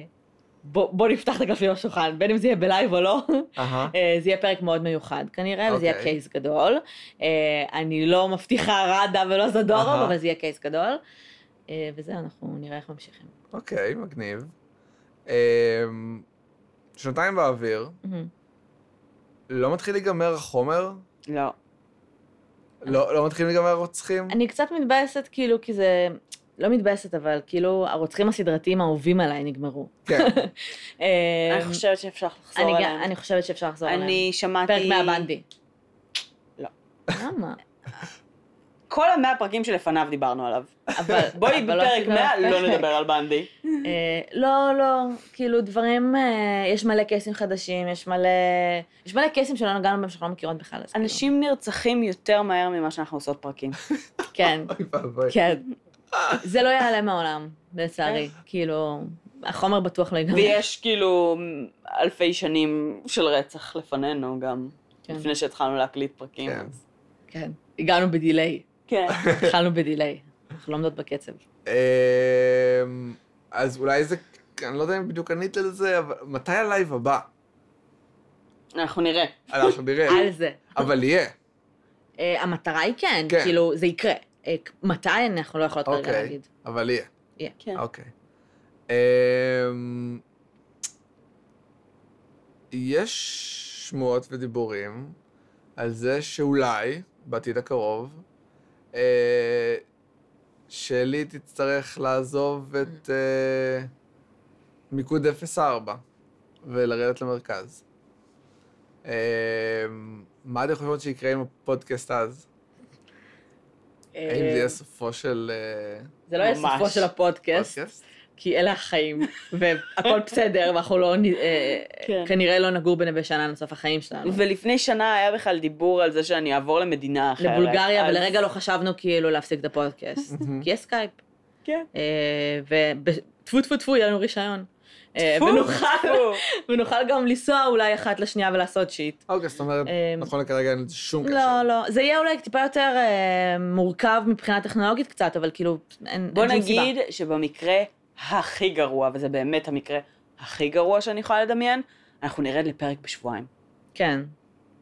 Speaker 2: בוא, בוא נפתח את הקלפים בשולחן, בין אם זה יהיה בלייב או לא, [LAUGHS]
Speaker 1: אהה.
Speaker 2: אה, זה יהיה פרק מאוד מיוחד כנראה, וזה יהיה
Speaker 1: אוקיי.
Speaker 2: קייס גדול. אה, אני לא מבטיחה רדה ולא זדורוב,
Speaker 1: אהה.
Speaker 2: אבל זה יהיה קייס גדול. אה, וזהו, אנחנו נראה איך ממשיכים.
Speaker 1: אוקיי, מגניב. אמ, שנתיים באוויר,
Speaker 2: מהמם.
Speaker 1: לא מתחיל להיגמר החומר?
Speaker 3: לא.
Speaker 1: לא לא מתחילים להיגמר רוצחים?
Speaker 2: אני קצת מתבאסת, כאילו, כי זה... לא מתבאסת, אבל כאילו, הרוצחים הסדרתיים האהובים עליי נגמרו.
Speaker 1: כן.
Speaker 2: אה,
Speaker 3: אני חושבת שאפשר
Speaker 2: אני
Speaker 3: לחזור
Speaker 2: גם-
Speaker 3: אליהם.
Speaker 2: אני חושבת שאפשר לחזור אליהם.
Speaker 3: אני שמעתי...
Speaker 2: פרק מהבנדי.
Speaker 3: לא. [LAUGHS]
Speaker 2: למה?
Speaker 3: כל המאה הפרקים שלפניו דיברנו עליו.
Speaker 2: אבל...
Speaker 3: בואי
Speaker 2: אבל לא
Speaker 3: בפרק
Speaker 2: עשינו
Speaker 3: 100 לא
Speaker 2: פרק.
Speaker 3: נדבר על בנדי.
Speaker 2: [LAUGHS] אה, לא, לא, כאילו דברים, אה, יש מלא קייסים חדשים, יש מלא... יש מלא קייסים שלא נגענו בהם שאנחנו לא מכירות בכלל. אז כאילו-
Speaker 3: אנשים נרצחים יותר מהר ממה שאנחנו עושות פרקים.
Speaker 2: כן,
Speaker 1: אוי ואבוי.
Speaker 2: כן. זה לא ייעלם מהעולם, לצערי. כאילו, החומר בטוח לא ייגמר.
Speaker 3: [LAUGHS] כן. ויש כאילו אלפי שנים של רצח לפנינו גם,
Speaker 2: כן.
Speaker 3: לפני שהתחלנו להקליט פרקים.
Speaker 1: כן.
Speaker 3: אז-
Speaker 2: כן. הגענו בדיליי.
Speaker 3: כן.
Speaker 2: התחלנו בדיליי, אנחנו לא עומדות בקצב.
Speaker 1: אמ, אז אולי זה, אני לא יודע אם בדיוק ענית לזה, אבל מתי הלייב הבא?
Speaker 3: אנחנו
Speaker 2: [LAUGHS]
Speaker 3: נראה.
Speaker 1: אנחנו נראה.
Speaker 2: על זה.
Speaker 1: אבל יהיה.
Speaker 2: אה, המטרה היא כן,
Speaker 1: כן.
Speaker 2: כאילו, זה יקרה. אה, מתי אנחנו לא יכולות כרגע
Speaker 1: אוקיי.
Speaker 2: להגיד.
Speaker 1: אבל יהיה.
Speaker 3: כן.
Speaker 1: אוקיי. אמ, יש שמועות ודיבורים על זה שאולי, בעתיד הקרוב, אה, שלי תצטרך לעזוב את אה, מיקוד 04 ולרדת למרכז. אה, מה אתם חושבות שיקרה עם הפודקאסט אז?
Speaker 2: אה,
Speaker 1: האם זה יהיה סופו של אה,
Speaker 2: זה לא יהיה
Speaker 3: ממש.
Speaker 2: סופו של הפודקאסט,
Speaker 1: פודקאסט?
Speaker 2: כי אלה החיים,
Speaker 3: [LAUGHS]
Speaker 2: והכל בסדר, ואנחנו לא, נ- אה,
Speaker 3: כן.
Speaker 2: כנראה לא נגור בנווה שאנן לסוף החיים שלנו.
Speaker 3: ולפני שנה היה בכלל דיבור על זה שאני אעבור למדינה אחרת.
Speaker 2: לבולגריה,
Speaker 3: אז-
Speaker 2: ולרגע לא חשבנו כאילו להפסיק את הפודקאסט,
Speaker 1: מהמם.
Speaker 2: כי יש סקייפ.
Speaker 3: כן.
Speaker 2: וטפו טפו טפו, יהיה לנו רישיון. אה,
Speaker 3: טפו,
Speaker 2: ונוכל- [LAUGHS]
Speaker 3: טפו.
Speaker 2: ונוכל גם לנסוע אולי אחת לשנייה ולעשות שיט.
Speaker 1: אוקיי, זאת אומרת,
Speaker 2: אה,
Speaker 1: נכון לכרגע אין לזה שום קשר.
Speaker 2: לא, לא, זה יהיה אולי טיפה יותר אה, מורכב מבחינה טכנולוגית קצת, אבל כאילו, אין- אין
Speaker 3: בוא
Speaker 2: שום סיבה.
Speaker 3: נגיד שבמקרה הכי גרוע, וזה באמת המקרה הכי גרוע שאני יכולה לדמיין, אנחנו נרד לפרק בשבועיים.
Speaker 2: כן.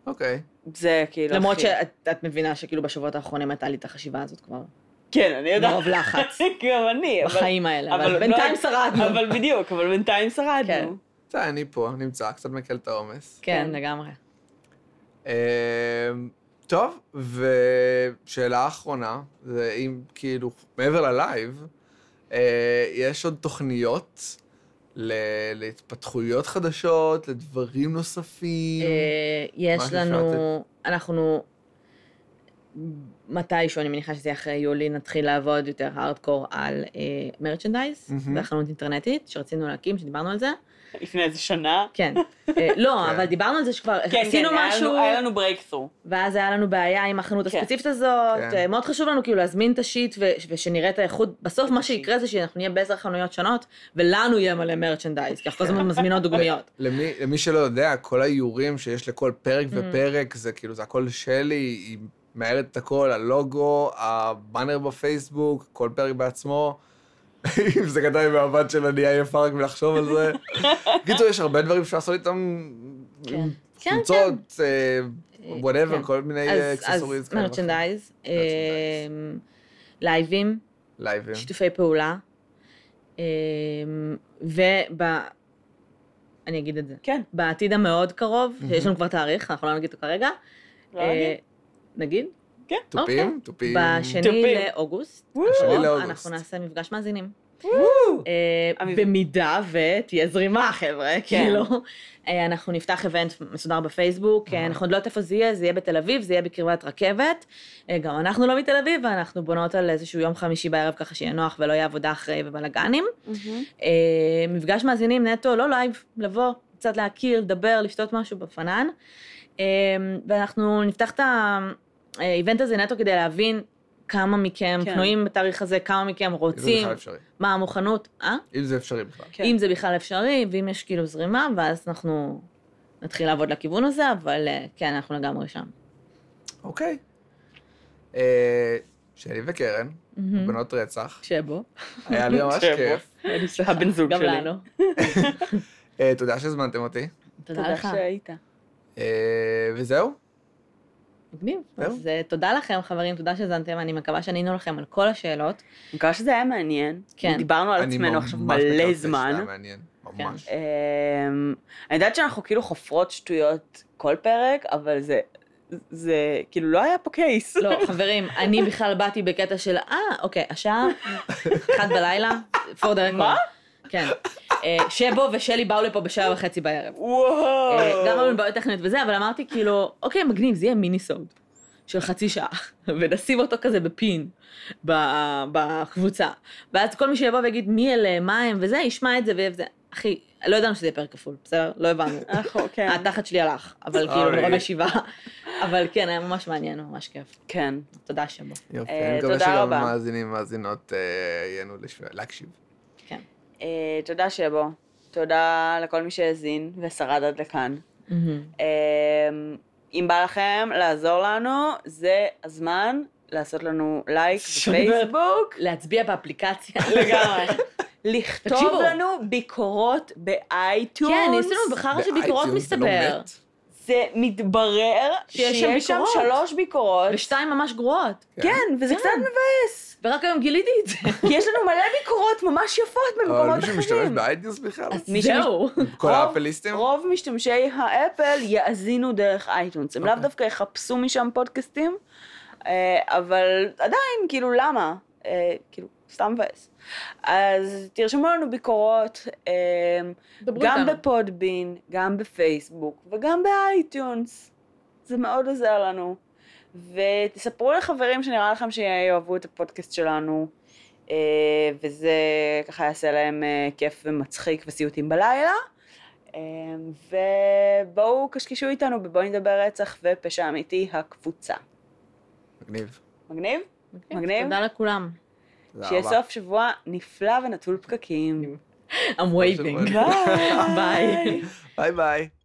Speaker 1: אוקיי.
Speaker 3: זה כאילו...
Speaker 2: למרות
Speaker 3: הכי-
Speaker 2: שאת את מבינה שכאילו בשבועות האחרונים הייתה לי את החשיבה הזאת כבר.
Speaker 3: כן, אני יודעת.
Speaker 2: מרוב לחץ.
Speaker 3: [LAUGHS] גם אני, אבל...
Speaker 2: בחיים האלה, אבל
Speaker 3: לא-
Speaker 2: בינתיים שרדנו.
Speaker 3: אבל בדיוק, אבל בינתיים שרדנו.
Speaker 2: כן.
Speaker 1: בסדר, אני פה, נמצא, קצת מקל את העומס.
Speaker 2: כן, לגמרי.
Speaker 1: אמ, טוב, ושאלה אחרונה, זה אם כאילו, מעבר ללייב, אה, יש עוד תוכניות ל- להתפתחויות חדשות, לדברים נוספים?
Speaker 2: אה, יש
Speaker 1: משהו
Speaker 2: לנו, אנחנו, מתישהו, אני מניחה שזה יהיה אחרי יולי, נתחיל לעבוד יותר הארדקור על מרצ'נדייז,
Speaker 1: מהמם.
Speaker 2: והחנות אינטרנטית שרצינו להקים, שדיברנו על זה.
Speaker 3: לפני איזה שנה.
Speaker 2: כן. אה,
Speaker 1: [LAUGHS]
Speaker 2: לא,
Speaker 1: כן.
Speaker 2: אבל דיברנו על זה שכבר
Speaker 3: כן,
Speaker 2: עשינו
Speaker 3: כן, היה לנו-
Speaker 2: משהו,
Speaker 3: היה לנו ברייקסרו.
Speaker 2: ואז היה לנו בעיה עם החנות
Speaker 3: כן.
Speaker 2: הספציפית הזאת.
Speaker 1: כן.
Speaker 2: אה, מאוד חשוב לנו כאילו להזמין את השיט ו- ושנראה את האיכות. בסוף
Speaker 3: את
Speaker 2: מה
Speaker 3: השיט.
Speaker 2: שיקרה זה שאנחנו נהיה בעשר חנויות שונות, ולנו יהיה מלא מרצ'נדייז, כי אנחנו כל הזמן מזמינות דוגמיות.
Speaker 1: למי, למי שלא יודע, כל האיורים שיש לכל פרק
Speaker 2: Mm.
Speaker 1: ופרק, זה כאילו, זה הכל שלי, היא מאיירת את הכל, הלוגו, הבאנר בפייסבוק, כל פרק בעצמו. [LAUGHS] אם זה גדל מהבת שלה, נהיה יפה רק מלחשוב על
Speaker 2: [LAUGHS]
Speaker 1: זה. בקיצור, יש הרבה דברים שאפשר לעשות איתם,
Speaker 2: כן.
Speaker 1: עם
Speaker 2: כן,
Speaker 1: חולצות,
Speaker 2: אה,
Speaker 1: וואטאבר,
Speaker 2: כן.
Speaker 1: כל מיני
Speaker 2: אז-
Speaker 1: אה, אקססוריז. נכון.
Speaker 2: אז מרצ'נדייז, אה, לייבים,
Speaker 1: לייבים.
Speaker 2: שיתופי פעולה, אה, וב... אני אגיד את זה.
Speaker 3: כן.
Speaker 2: בעתיד המאוד קרוב, שיש לנו כבר תאריך, אנחנו לא נגיד אותו כרגע.
Speaker 3: לא
Speaker 2: אה,
Speaker 3: נגיד.
Speaker 2: נגיד?
Speaker 1: תופים, תופים.
Speaker 2: בשני
Speaker 3: טופים.
Speaker 2: לאוגוסט,
Speaker 3: וואו.
Speaker 1: שני
Speaker 2: הקרוב,
Speaker 1: לאוגוסט.
Speaker 2: אנחנו נעשה מפגש מאזינים.
Speaker 3: וואו.
Speaker 2: אה,
Speaker 3: המפ-
Speaker 2: במידה ותהיה זרימה, חבר'ה, כאילו. אה, אנחנו נפתח איבנט מסודר בפייסבוק, אה, אנחנו עוד לא יודעת איפה זה יהיה, זה יהיה בתל אביב, זה יהיה בקרבת רכבת. אה, גם אנחנו לא מתל אביב, ואנחנו בונות על איזשהו יום חמישי בערב ככה שיהיה נוח ולא יהיה עבודה אחרי ובלאגנים. אה, מפגש מאזינים נטו, לא לייב, לבוא, קצת להכיר, לדבר, לשתות משהו בפנן. אה, ואנחנו נפתח את האיבנט הזה נטו כדי להבין כמה מכם
Speaker 3: כן.
Speaker 2: פנויים בתאריך הזה, כמה מכם
Speaker 1: אם זה
Speaker 2: רוצים,
Speaker 1: בכלל אפשרי.
Speaker 2: מה המוכנות, אה?
Speaker 1: אם זה אפשרי בכלל.
Speaker 3: כן.
Speaker 2: אם זה בכלל אפשרי, ואם יש כאילו זרימה, ואז אנחנו נתחיל לעבוד לכיוון הזה, אבל אה, כן, אנחנו לגמרי שם.
Speaker 1: אוקיי. אה, שלי וקרן,
Speaker 2: מהמם.
Speaker 1: בנות רצח.
Speaker 2: שבו,
Speaker 1: היה לי ממש
Speaker 3: שבו.
Speaker 1: כיף.
Speaker 3: הבן זוג
Speaker 2: גם
Speaker 3: שלי.
Speaker 2: לנו.
Speaker 1: אה, תודה שהזמנתם אותי.
Speaker 2: תודה לך.
Speaker 3: שהיית.
Speaker 1: אה, וזהו,
Speaker 2: מגניב.
Speaker 1: זהו.
Speaker 2: אז אה, תודה לכם, חברים, תודה שהזנתם, אני מקווה שענינו לכם על כל השאלות.
Speaker 3: אני מקווה שזה היה מעניין.
Speaker 2: כן.
Speaker 3: דיברנו על
Speaker 1: אני
Speaker 3: עצמנו עכשיו
Speaker 1: ממש מקווה
Speaker 3: מלא
Speaker 1: שזה
Speaker 3: זמן. כן.
Speaker 1: היה מעניין, ממש.
Speaker 3: אמ, אני יודעת שאנחנו כאילו חופרות שטויות כל פרק, אבל זה, זה כאילו לא היה פה קייס.
Speaker 2: לא, חברים, אני בכלל באתי בקטע של, אה, אוקיי, השעה, אחת בלילה, פור דה רקורד.
Speaker 3: מה?
Speaker 2: כן. אה, שבו ושלי באו לפה בשעה וחצי בערב.
Speaker 3: וואו.
Speaker 2: אה, גם עם בעיות טכניות וזה, אבל אמרתי כאילו, אוקיי, מגניב, זה יהיה מיני סוד של חצי שעה, [LAUGHS] ונשים אותו כזה בפין ב- בקבוצה. ואז כל מי שיבוא ויגיד מי אלה, מה הם וזה, ישמע את זה ויהיה וזה. אחי, לא ידענו שזה יהיה פרק כפול, בסדר? לא הבנו.
Speaker 3: אנחנו, כן.
Speaker 2: התחת שלי הלך, אבל כאילו,
Speaker 1: Sorry.
Speaker 2: נורא בישיבה. אבל כן, היה ממש מעניין, ממש כיף.
Speaker 3: כן.
Speaker 2: תודה שבו.
Speaker 1: יופי,
Speaker 3: אה,
Speaker 1: אני מקווה
Speaker 3: תודה
Speaker 1: שגם
Speaker 3: רבה.
Speaker 1: מאזינים ומאזינות אה, ייהנו לשמוע- להקשיב.
Speaker 2: כן.
Speaker 3: אה, תודה שבו. תודה לכל מי שהאזין ושרד עד לכאן. אמ, אם בא לכם לעזור לנו, זה הזמן לעשות לנו [LAUGHS] לייק
Speaker 2: שומרת.
Speaker 3: בפייסבוק.
Speaker 2: להצביע [LAUGHS] באפליקציה.
Speaker 3: לגמרי. לכתוב
Speaker 2: תקשיבו.
Speaker 3: לנו ביקורות באייטיונס.
Speaker 2: כן, ניסינו בחר שביקורות
Speaker 1: באייטיונס זה לא
Speaker 2: מסתבר.
Speaker 1: מת.
Speaker 3: זה מתברר
Speaker 2: שיש
Speaker 3: שיש
Speaker 2: שם
Speaker 3: שם יש שם
Speaker 2: ביקורות.
Speaker 3: שלוש ביקורות.
Speaker 2: ושתיים ממש גרועות.
Speaker 3: כן, וזה קצת מבאס.
Speaker 2: ורק היום גיליתי את זה. [LAUGHS]
Speaker 3: כי יש לנו מלא ביקורות ממש יפות
Speaker 1: אבל
Speaker 3: במקומות
Speaker 1: מישהו משתמש
Speaker 3: אחרים.
Speaker 1: באייטיונס בכלל?
Speaker 2: אז
Speaker 3: מי
Speaker 2: זהו.
Speaker 1: כל
Speaker 3: רוב-
Speaker 1: האפליסטים?
Speaker 3: רוב משתמשי האפל יאזינו דרך אייטונס. הם לאו
Speaker 1: אוקיי.
Speaker 3: דווקא יחפשו משם פודקאסטים, אה, אבל עדיין, כאילו, למה? אה, כאילו, סתם מבאס. אז תרשמו לנו ביקורות, אה,
Speaker 2: דברו
Speaker 3: גם
Speaker 2: איתנו.
Speaker 3: בפודבין, גם בפייסבוק וגם באייטיונס. זה מאוד עוזר לנו. ותספרו לחברים שנראה לכם שיאהבו את הפודקאסט שלנו, אה, וזה ככה יעשה להם אה, כיף ומצחיק וסיוטים בלילה. אה, ובואו קשקשו איתנו בבואי נדבר רצח ופשע אמיתי הקבוצה.
Speaker 1: מגניב.
Speaker 3: מגניב? מגניב.
Speaker 2: מגניב. תודה לכולם.
Speaker 1: תודה
Speaker 3: שיהיה
Speaker 1: רבה.
Speaker 3: סוף שבוע נפלא ונטול פקקים.
Speaker 2: I'm waving. [LAUGHS]
Speaker 3: ביי.
Speaker 2: ביי.
Speaker 1: ביי ביי.